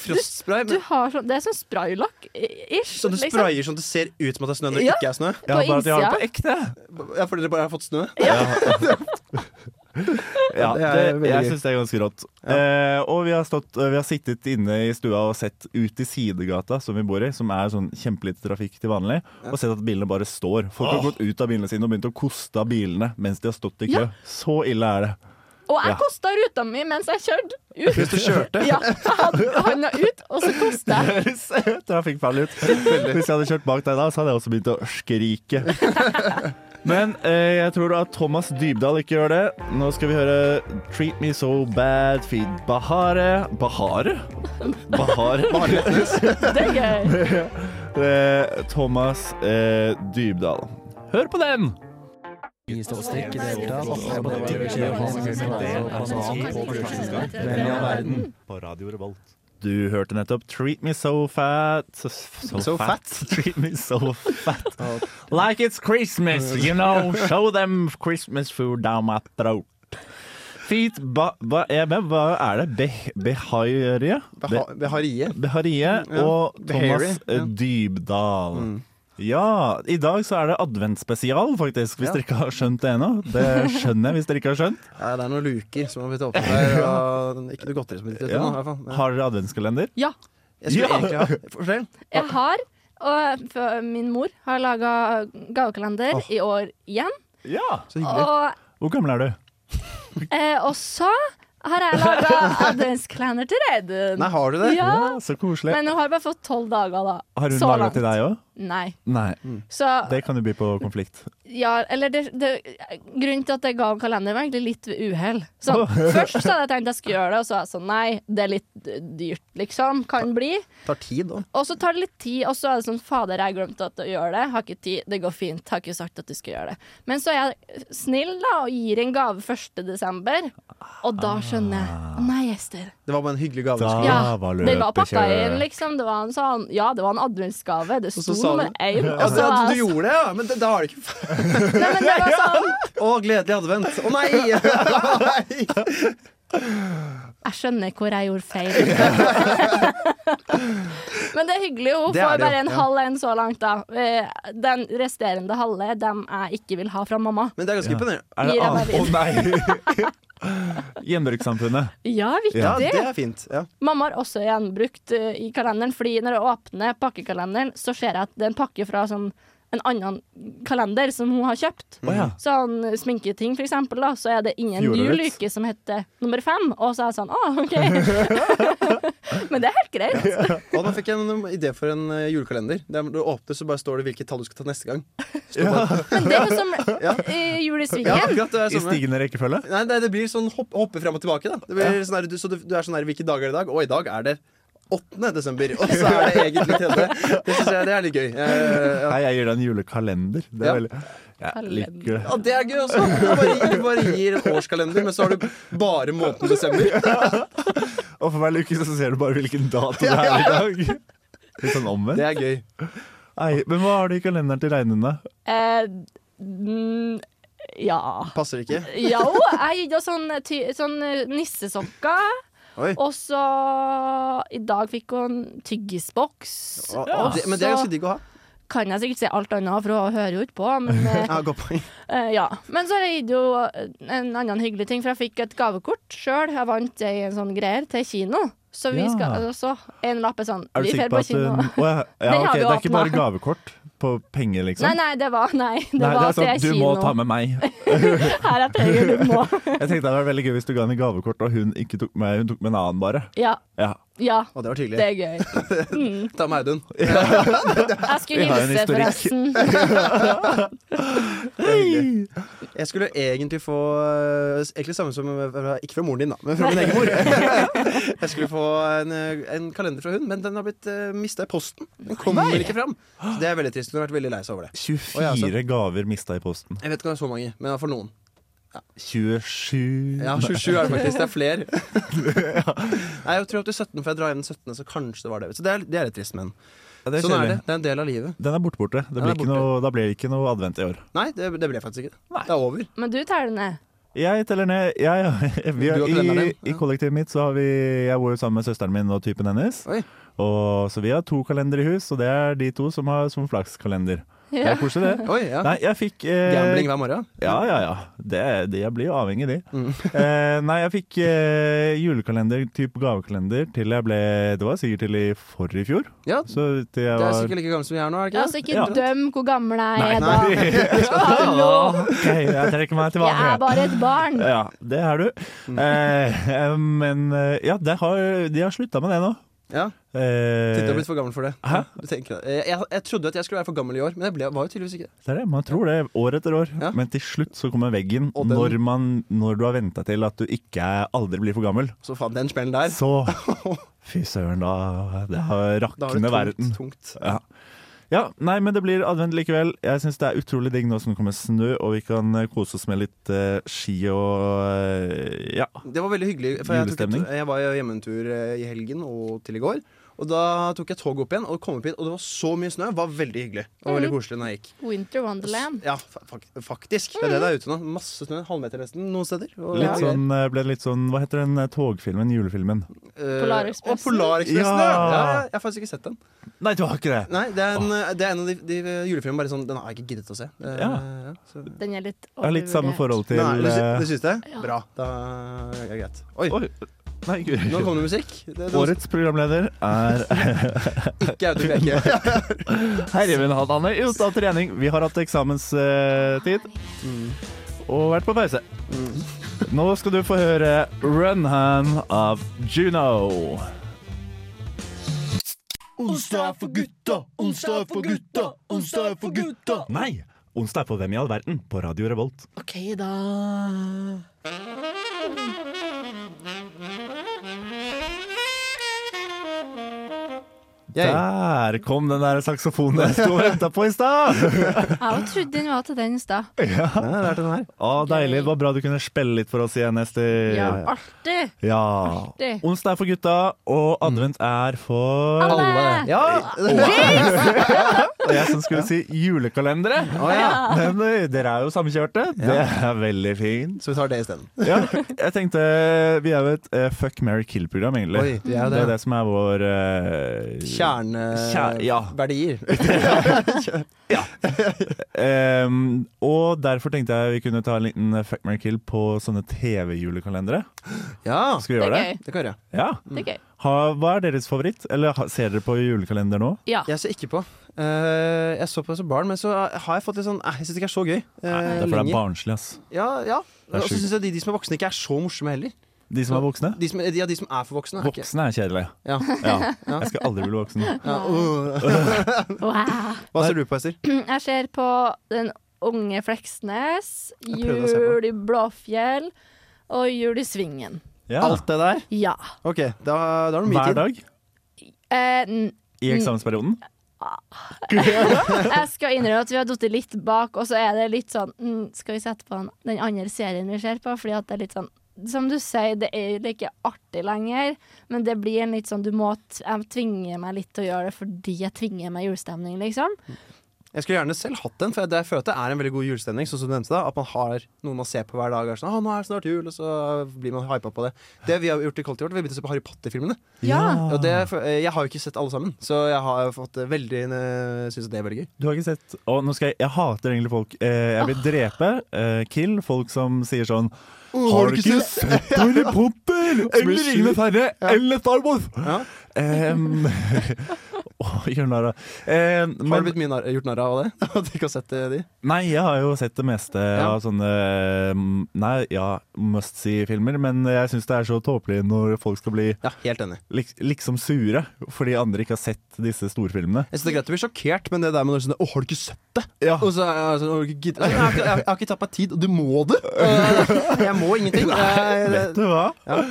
[SPEAKER 2] Frostspray.
[SPEAKER 4] Du
[SPEAKER 2] men-
[SPEAKER 4] har sånn, det er sånn spraylakk-ish.
[SPEAKER 2] Så du sprayer sånn at det ser ut som at det er snø når det
[SPEAKER 4] Ja.
[SPEAKER 2] ikke er snø?
[SPEAKER 3] liksom- Ja,
[SPEAKER 4] liksom, på
[SPEAKER 3] bare at de har det
[SPEAKER 4] innsida.
[SPEAKER 3] på ekte.
[SPEAKER 2] Ja, fordi dere bare har fått snø?
[SPEAKER 3] Ja,
[SPEAKER 2] Det er
[SPEAKER 3] det,
[SPEAKER 2] veldig
[SPEAKER 3] jeg
[SPEAKER 2] gøy.
[SPEAKER 3] syns det er ganske rått. Eh, og vi har, stått, vi har sittet inne i stua og sett ut i sidegata som vi bor i, som er sånn kjempelite trafikk til vanlig, og sett at bilene bare står. Folk har gått ut av bilene sine og begynt å koste av bilene mens de har stått i kø.
[SPEAKER 4] Ja.
[SPEAKER 3] Så ille er det.
[SPEAKER 4] Og jeg
[SPEAKER 3] Ja.
[SPEAKER 4] kosta ruta mi mens jeg kjørte. Ut.
[SPEAKER 2] Hvis du kjørte?
[SPEAKER 4] Ja, jeg hadde handa ut, og så kosta jeg.
[SPEAKER 3] Høres trafikkfarlig ut. Hvis jeg hadde kjørt bak deg da, så hadde jeg også begynt å skrike. Men eh, jeg tror at Thomas Dybdahl ikke gjør det. Nå skal vi høre 'Treat Me So Bad' feed Bahare Bahare? Bahare?
[SPEAKER 4] Det er gøy.
[SPEAKER 3] Eh, Thomas eh, Dybdahl. Hør på den! Du hørte nettopp 'Treat Me So Fat'. So,
[SPEAKER 2] So
[SPEAKER 3] Treat me so fat. Like it's Christmas, you know. Show them Christmas food down my throat. Feet ba... ba eh, men hva er det? Beh, beharie? Be,
[SPEAKER 2] Beha- Beharie.
[SPEAKER 3] beharie og Thomas
[SPEAKER 2] Behari, ja. Mm.
[SPEAKER 3] Dybdahl. Ja, i dag så er det adventsspesial, faktisk, hvis
[SPEAKER 2] Ja.
[SPEAKER 3] dere ikke har skjønt det ennå. Det skjønner jeg hvis dere ikke har skjønt.
[SPEAKER 2] Ja, det er noen luker som har blitt åpnet der. Og ikke noe godteri som har blitt åpnet. nå, i hvert fall. Ja.
[SPEAKER 3] Har dere adventskalender?
[SPEAKER 4] Ja.
[SPEAKER 2] Jeg skulle
[SPEAKER 3] Ja.
[SPEAKER 2] egentlig ha Fortell.
[SPEAKER 4] Jeg har, og for min mor har laga gavekalender i år igjen.
[SPEAKER 3] Ja!
[SPEAKER 2] Så hyggelig.
[SPEAKER 4] Og,
[SPEAKER 3] Hvor gammel er du?
[SPEAKER 4] eh, og så har jeg laga adventskalender til Reidun.
[SPEAKER 2] Nei, har du det?
[SPEAKER 4] Ja.
[SPEAKER 3] Så koselig.
[SPEAKER 4] Men hun har bare fått tolv dager, da.
[SPEAKER 3] har hun
[SPEAKER 4] så
[SPEAKER 3] laga
[SPEAKER 4] langt.
[SPEAKER 3] til deg òg?
[SPEAKER 4] Nei.
[SPEAKER 3] Nei.
[SPEAKER 2] Mm.
[SPEAKER 4] Så
[SPEAKER 3] Det kan jo by på konflikt.
[SPEAKER 4] Ja, eller det, det, Grunnen til at jeg ga kalender, var egentlig litt ved uhell. Sånn, først så hadde jeg tenkt jeg skulle gjøre det, og så var jeg sånn nei, det er litt eh, dyrt, liksom. Kan bli.
[SPEAKER 2] Tar tid, da.
[SPEAKER 4] Og så tar det litt tid, og så er det sånn fader, jeg glemte at å gjøre det. Har ikke tid. Det går fint. Har ikke sagt at du skal gjøre det. Men så er jeg snill, da, og gir en gave 1. desember, og da skjønner jeg.
[SPEAKER 2] Ah.
[SPEAKER 4] Å nei, Ester.
[SPEAKER 2] Det var bare en hyggelig gave. du
[SPEAKER 3] Da
[SPEAKER 2] skulle-
[SPEAKER 4] Ja,
[SPEAKER 3] var
[SPEAKER 4] Den var pakka
[SPEAKER 3] løpekjøret.
[SPEAKER 4] inn, liksom. Det var en sånn Ja, det var en adventsgave. Det
[SPEAKER 2] Og så
[SPEAKER 4] sto
[SPEAKER 2] sa
[SPEAKER 4] nummer
[SPEAKER 2] du-
[SPEAKER 4] én.
[SPEAKER 2] altså, Ja, så
[SPEAKER 4] Og så var
[SPEAKER 2] du,
[SPEAKER 4] jeg
[SPEAKER 2] du gjorde det, ja? Men det, da har det ikke f-
[SPEAKER 4] sånn- Nei, men det var sånn
[SPEAKER 2] Å, gledelig advent! Å nei! nei!
[SPEAKER 4] Jeg skjønner hvor jeg gjorde feil. Men det er hyggelig. Hun
[SPEAKER 2] Det er
[SPEAKER 4] får
[SPEAKER 2] det,
[SPEAKER 4] bare en
[SPEAKER 2] ja.
[SPEAKER 4] halv en så langt, da. Eh, Den resterende halve, dem jeg ikke vil ha fra mamma.
[SPEAKER 2] Men det er ganske imponerende.
[SPEAKER 3] Er det
[SPEAKER 4] Gir jeg
[SPEAKER 3] annet? Å
[SPEAKER 4] meg
[SPEAKER 3] nei! Gjenbrukssamfunnet.
[SPEAKER 4] Ja, viktig.
[SPEAKER 2] Ja, det er fint. Ja.
[SPEAKER 4] Mamma har også gjenbrukt eh, i kalenderen, fordi når jeg åpner pakkekalenderen, så ser jeg at det er en pakke fra sånn en annen kalender som hun har kjøpt.
[SPEAKER 3] Å
[SPEAKER 2] Mm.
[SPEAKER 3] ja.
[SPEAKER 4] Sånn sminketing, for eksempel, da, så er det ingen
[SPEAKER 3] Fjorårets.
[SPEAKER 4] jul uke som heter nummer fem. Og så er jeg sånn, å, ok. Men det er helt greit.
[SPEAKER 2] Og da fikk jeg en idé for en eh, julekalender. Der du åpner, så bare står det hvilket tall du skal ta neste gang.
[SPEAKER 4] Men det er jo som
[SPEAKER 2] Ja.
[SPEAKER 4] eh,
[SPEAKER 2] Ja,
[SPEAKER 4] julesviken.
[SPEAKER 2] akkurat det er
[SPEAKER 3] I
[SPEAKER 2] samme.
[SPEAKER 3] stigende rekkefølge?
[SPEAKER 2] Nei, det, det blir sånn hopp, hoppe frem og tilbake. da det blir sånn her, du, Så du, du er sånn her Hvilke dager er det i dag? Og i dag er det 8. desember. Og så er det egentlig tredje. Det synes jeg det er litt gøy. Eh, ja.
[SPEAKER 3] Nei, jeg gir deg en julekalender. Det
[SPEAKER 2] Ja.
[SPEAKER 3] er veldig Jeg liker det.
[SPEAKER 2] Ja, det er gøy også! Du bare, du bare gir en årskalender, men så har du bare måneden desember.
[SPEAKER 3] Og for hver uke så ser du bare hvilken dato det er i dag. Litt sånn omvendt.
[SPEAKER 2] Det er gøy.
[SPEAKER 3] Nei, men hva har du i kalenderen til regnene?
[SPEAKER 4] Eh, mm, ja.
[SPEAKER 2] Passer ikke.
[SPEAKER 4] Jo, jeg gikk da sånn, ty, sånn nissesokker.
[SPEAKER 2] Oi.
[SPEAKER 4] Og så I dag fikk hun tyggisboks.
[SPEAKER 2] Og-
[SPEAKER 4] Og
[SPEAKER 2] og det, men det er
[SPEAKER 4] så
[SPEAKER 2] ganske digg å ha.
[SPEAKER 4] kan jeg sikkert si alt annet, for hun hører jo ikke på. Men, eh,
[SPEAKER 2] Ja, godt poeng.
[SPEAKER 4] eh, ja. men så har jeg gitt henne en annen hyggelig ting, for jeg fikk et gavekort sjøl. Jeg vant ei sånn greier til kino. Så vi
[SPEAKER 3] Ja.
[SPEAKER 4] skal altså, En lapp er sånn
[SPEAKER 3] Er du
[SPEAKER 4] Vi
[SPEAKER 3] sikker på
[SPEAKER 4] drar på
[SPEAKER 3] at eh,
[SPEAKER 4] kino.
[SPEAKER 3] hun Å, ja, ja,
[SPEAKER 4] Den har
[SPEAKER 3] ok,
[SPEAKER 4] vi
[SPEAKER 3] Det er ikke bare
[SPEAKER 4] åpnet.
[SPEAKER 3] gavekort på penger, liksom?
[SPEAKER 4] Nei, nei, det var Nei, det
[SPEAKER 3] Nei,
[SPEAKER 4] var
[SPEAKER 3] det er sånn,
[SPEAKER 4] til
[SPEAKER 3] du
[SPEAKER 4] kino.
[SPEAKER 3] må ta med meg.
[SPEAKER 4] Her er penger du må.
[SPEAKER 3] Jeg tenkte det var veldig gøy hvis du ga henne gavekort, og hun ikke tok med Hun tok med en annen, bare.
[SPEAKER 4] Ja.
[SPEAKER 3] Ja.
[SPEAKER 4] Ja.
[SPEAKER 2] Å, det var
[SPEAKER 4] Det
[SPEAKER 2] tydelig.
[SPEAKER 4] er gøy.
[SPEAKER 2] Ta med Audun.
[SPEAKER 4] Jeg skulle
[SPEAKER 3] Vi har en
[SPEAKER 4] hilse,
[SPEAKER 3] historikk.
[SPEAKER 4] forresten.
[SPEAKER 3] Hei!
[SPEAKER 2] Jeg skulle egentlig få eh, Egentlig samme som eh, Ikke fra moren din, da, men fra min egen mor. Jeg skulle få en, eh, en kalender fra hun, men den har blitt uh, mista i posten. Den kommer ikke fram. Så det er veldig trist. Hun har vært veldig lei seg over det.
[SPEAKER 3] 24
[SPEAKER 2] Å, ja, sant.
[SPEAKER 3] gaver mista i posten.
[SPEAKER 2] Jeg vet ikke om det er så mange, men for noen.
[SPEAKER 3] 27
[SPEAKER 2] Ja, 27 er det faktisk. Det er flere. Nei, jeg tror opp til 17, for jeg drar hjem den 17., så kanskje det var det. Så det er, det er litt trist, men
[SPEAKER 3] Ja, det er
[SPEAKER 2] sånn er det.
[SPEAKER 3] kjedelig.
[SPEAKER 2] Det er en del av livet.
[SPEAKER 3] Den er borte, borte. Det
[SPEAKER 2] Den
[SPEAKER 3] blir
[SPEAKER 2] er
[SPEAKER 3] ikke
[SPEAKER 2] borte.
[SPEAKER 3] Noe, da blir det ikke noe advent i år.
[SPEAKER 2] Nei, det, det ble faktisk ikke det. Det er over.
[SPEAKER 4] Men du teller ned.
[SPEAKER 3] Jeg teller ned. Jeg, jeg, vi,
[SPEAKER 2] Du har kalenderen
[SPEAKER 3] i,
[SPEAKER 2] din, ja.
[SPEAKER 3] I kollektivet mitt så har vi Jeg bor jo sammen med søsteren min og typen hennes.
[SPEAKER 2] Oi.
[SPEAKER 3] Og, så vi har to kalendere i hus, og det er de to som har som flakskalender. Det er koselig, det.
[SPEAKER 2] Oi, ja.
[SPEAKER 3] Nei, jeg fikk eh,
[SPEAKER 2] Gambling Mm. hver morgen.
[SPEAKER 3] Ja, ja, ja. Det, det, jeg blir jo avhengig, de. eh, nei, jeg fikk eh, julekalender, type gavekalender, til jeg ble Det var sikkert til i forrige fjor.
[SPEAKER 2] Ja,
[SPEAKER 3] Så til jeg
[SPEAKER 2] det er
[SPEAKER 3] var
[SPEAKER 2] sikkert like gammel som vi er nå, er det ikke det?
[SPEAKER 4] Ja, så altså, ikke
[SPEAKER 3] Ja.
[SPEAKER 4] døm hvor gammel jeg
[SPEAKER 3] Nei,
[SPEAKER 4] er, da.
[SPEAKER 3] nei.
[SPEAKER 4] Hallo!
[SPEAKER 3] Ok, jeg trekker meg
[SPEAKER 4] Jeg er
[SPEAKER 3] tilbake.
[SPEAKER 4] bare et barn.
[SPEAKER 3] Ja, det er du.
[SPEAKER 2] Mm.
[SPEAKER 3] Eh, eh, men eh, ja, det har, de har slutta med det nå.
[SPEAKER 2] Ja.
[SPEAKER 3] Eh,
[SPEAKER 2] Tenkte jeg ble for gammel for det.
[SPEAKER 3] Hæ?
[SPEAKER 2] Du tenker det. Eh, Jeg, jeg trodde at jeg skulle være for gammel i år, men jeg ble, var jo tydeligvis ikke det.
[SPEAKER 3] Det er det, Man tror det år etter år,
[SPEAKER 2] Ja.
[SPEAKER 3] men til slutt så kommer veggen.
[SPEAKER 2] Og den-
[SPEAKER 3] Når, man, når du har venta til at du ikke er, aldri blir for gammel,
[SPEAKER 2] Så faen, den smellen der.
[SPEAKER 3] så Fy søren, da det har
[SPEAKER 2] Da har du
[SPEAKER 3] rakner
[SPEAKER 2] tungt,
[SPEAKER 3] verden.
[SPEAKER 2] tungt.
[SPEAKER 3] Ja. ja, Nei, men det blir advent likevel. Jeg syns det er utrolig digg nå som det kommer snø, og vi kan eh, kose oss med litt eh, ski og eh, Ja.
[SPEAKER 2] Det var veldig hyggelig. For jeg, tok
[SPEAKER 3] Julestemning.
[SPEAKER 2] et, jeg var jo hjemme en tur eh, i helgen og til i går. Og da tok jeg toget opp igjen og kom opp hit, og det var så mye snø. Det var veldig hyggelig. Det var veldig koselig når jeg gikk.
[SPEAKER 4] Winter Wonderland.
[SPEAKER 2] Ja, fa- fak- faktisk. Det er det det er ute nå. Masse snø. Halvmeter nesten noen steder. Og,
[SPEAKER 3] Litt sånn, eh, ble det litt sånn Hva heter den eh, togfilmen? Julefilmen?
[SPEAKER 2] Eh,
[SPEAKER 4] Polarekspressen.
[SPEAKER 2] Og Polarekspressen, ja.
[SPEAKER 3] Ja.
[SPEAKER 2] Ja, ja! Jeg har faktisk ikke sett den.
[SPEAKER 3] Nei, det var ikke det!
[SPEAKER 2] Nei, det er en, eh, det er en av de, de julefilmene bare sånn Den har jeg ikke giddet å se. Eh,
[SPEAKER 3] Ja.
[SPEAKER 2] så.
[SPEAKER 4] Den er litt
[SPEAKER 3] Jeg har litt samme
[SPEAKER 4] overvurdert.
[SPEAKER 3] forhold til
[SPEAKER 2] Nei, du, sy-
[SPEAKER 3] eh,
[SPEAKER 2] du syns det? Bra. Da er det greit. Oi,
[SPEAKER 3] Oi. Nei, gud.
[SPEAKER 2] nå kom det musikk. Det, det var
[SPEAKER 3] Årets programleder er
[SPEAKER 2] ikke Audun Bjerke.
[SPEAKER 3] Herreven Hanne just av trening. Vi har hatt eksamenstid og vært på pause. Nå skal du få høre Run Hand av Juno.
[SPEAKER 5] Onsdag er for gutta, onsdag er for gutta, onsdag er for gutta.
[SPEAKER 3] Nei! Onsdag er på Hvem i all verden på Radio Revolt.
[SPEAKER 5] Ok, da.
[SPEAKER 2] Jeg,
[SPEAKER 3] Der kom den der saksofonen jeg sto og venta på i stad!
[SPEAKER 4] Jeg også trodde den var til den i stad.
[SPEAKER 3] Å, deilig. Det var bra du kunne spille litt for oss igjen, Ester.
[SPEAKER 4] Ja, alltid.
[SPEAKER 3] Ja.
[SPEAKER 4] Artig.
[SPEAKER 3] Onsdag er for gutta, og advent er for
[SPEAKER 4] Alle.
[SPEAKER 2] ja!
[SPEAKER 3] Og jeg som skulle si julekalendere.
[SPEAKER 2] Å, ja.
[SPEAKER 3] Men øy, dere er jo samkjørte. Det er veldig fint.
[SPEAKER 2] Så vi tar det isteden.
[SPEAKER 3] Ja, jeg tenkte Vi er jo et eh, fuck, marry, kill-program, egentlig.
[SPEAKER 2] Oi, vi er jo det,
[SPEAKER 3] det
[SPEAKER 2] ja.
[SPEAKER 3] er det som er vår eh, Kjær- ja.
[SPEAKER 2] Kjerneverdier.
[SPEAKER 3] em, Og derfor tenkte jeg vi kunne ta en liten eh, fuck, marry, kill på sånne TV-julekalendere.
[SPEAKER 2] Ja,
[SPEAKER 3] Skal vi
[SPEAKER 4] Det er
[SPEAKER 3] gjøre det?
[SPEAKER 4] gøy.
[SPEAKER 2] det kan vi gjøre.
[SPEAKER 3] Ja.
[SPEAKER 4] Det er gøy.
[SPEAKER 3] Ha, hva er deres favoritt? Eller ha- ser dere på julekalender nå?
[SPEAKER 4] Ja.
[SPEAKER 2] Jeg ser ikke på. Eh, jeg så på det som barn, men så har jeg fått litt sånn eh, Jeg syns det ikke er så gøy. eh,
[SPEAKER 3] Nei, det er fordi det er
[SPEAKER 2] lenger.
[SPEAKER 3] barnslig, ass.
[SPEAKER 2] Ja, ja.
[SPEAKER 3] Det er
[SPEAKER 2] Og så
[SPEAKER 3] sjukt.
[SPEAKER 2] syns jeg de, de som er voksne, ikke er så morsomme heller.
[SPEAKER 3] De som er voksne?
[SPEAKER 2] De som, ja, de som er for voksne. Er ikke,
[SPEAKER 3] Voksne er kjedelige.
[SPEAKER 2] ja.
[SPEAKER 3] Ja. Jeg skal aldri bli voksen.
[SPEAKER 2] Ja, åh.
[SPEAKER 4] Wow.
[SPEAKER 2] Hva ser du på, Ester?
[SPEAKER 4] Jeg ser på Den unge Fleksnes,
[SPEAKER 2] prøvde å se på.
[SPEAKER 4] Jul i Blåfjell og Jul i Svingen.
[SPEAKER 3] Ja.
[SPEAKER 2] Alt det der?
[SPEAKER 4] Ja.
[SPEAKER 2] Ok, da, da er det mye
[SPEAKER 3] Hver
[SPEAKER 2] tid. Mm.
[SPEAKER 3] dag
[SPEAKER 4] Eh, n-
[SPEAKER 3] i eksamensperioden.
[SPEAKER 4] jeg skal innrømme at vi har falt litt bak, og så er det litt sånn mm, Skal vi sette på den, den andre serien vi ser på? Fordi at det er litt sånn Som du sier, det er jo ikke artig lenger, men det blir en litt sånn Du må t Jeg tvinger meg litt til å gjøre det fordi jeg tvinger meg julestemning, liksom.
[SPEAKER 2] Jeg skulle gjerne selv hatt den, for jeg, det- jeg føler at det er en veldig god julestemning. Sånn som du nevnte da, At man har noen man ser på hver dag. Og er sånn, «Å, nå er det snart jul, og så blir man hypa på det. Det vi har gjort i Kollektivt, vi har begynt å se på Harry Potter-filmene.
[SPEAKER 4] Ja.
[SPEAKER 2] Og
[SPEAKER 3] Ah.
[SPEAKER 2] det, for- eh, jeg har jo ikke sett alle sammen, så jeg har fått eh, veldig eh, synes det er veldig gøy.
[SPEAKER 3] Du har ikke sett Å, nå skal jeg Jeg hater egentlig folk. Eh, jeg
[SPEAKER 2] Ah.
[SPEAKER 3] vil drepe, eh, kill, folk som sier sånn Har du ikke sett Harry Potter? Eller
[SPEAKER 2] blir
[SPEAKER 3] Ringenes herre? Eller Star Wars?
[SPEAKER 2] Ja.
[SPEAKER 3] Em, Å, gjør narr av Em,
[SPEAKER 2] Har du
[SPEAKER 3] men-
[SPEAKER 2] blitt mye nar gjort narr av det? At du ikke har sett eh, de?
[SPEAKER 3] Nei, jeg har jo sett det meste av sånne mm, Nei, ja, must see-filmer. Men jeg syns det er så tåpelig når folk skal bli
[SPEAKER 2] Ja, helt enig.
[SPEAKER 3] lik- liksom sure fordi andre ikke har sett disse storfilmene.
[SPEAKER 2] Jeg synes det er greit å bli sjokkert, men det der med når du sånn, å, har du ikke sett det?
[SPEAKER 3] Ja.
[SPEAKER 2] Og så er jeg sånn, «Har du ikke gidd- Nei, jeg, har ikke- jeg, har- jeg har ikke tatt meg tid, og du må det! Eh, Jeg må ingenting. Eh,
[SPEAKER 3] Vet du hva?
[SPEAKER 2] Ja.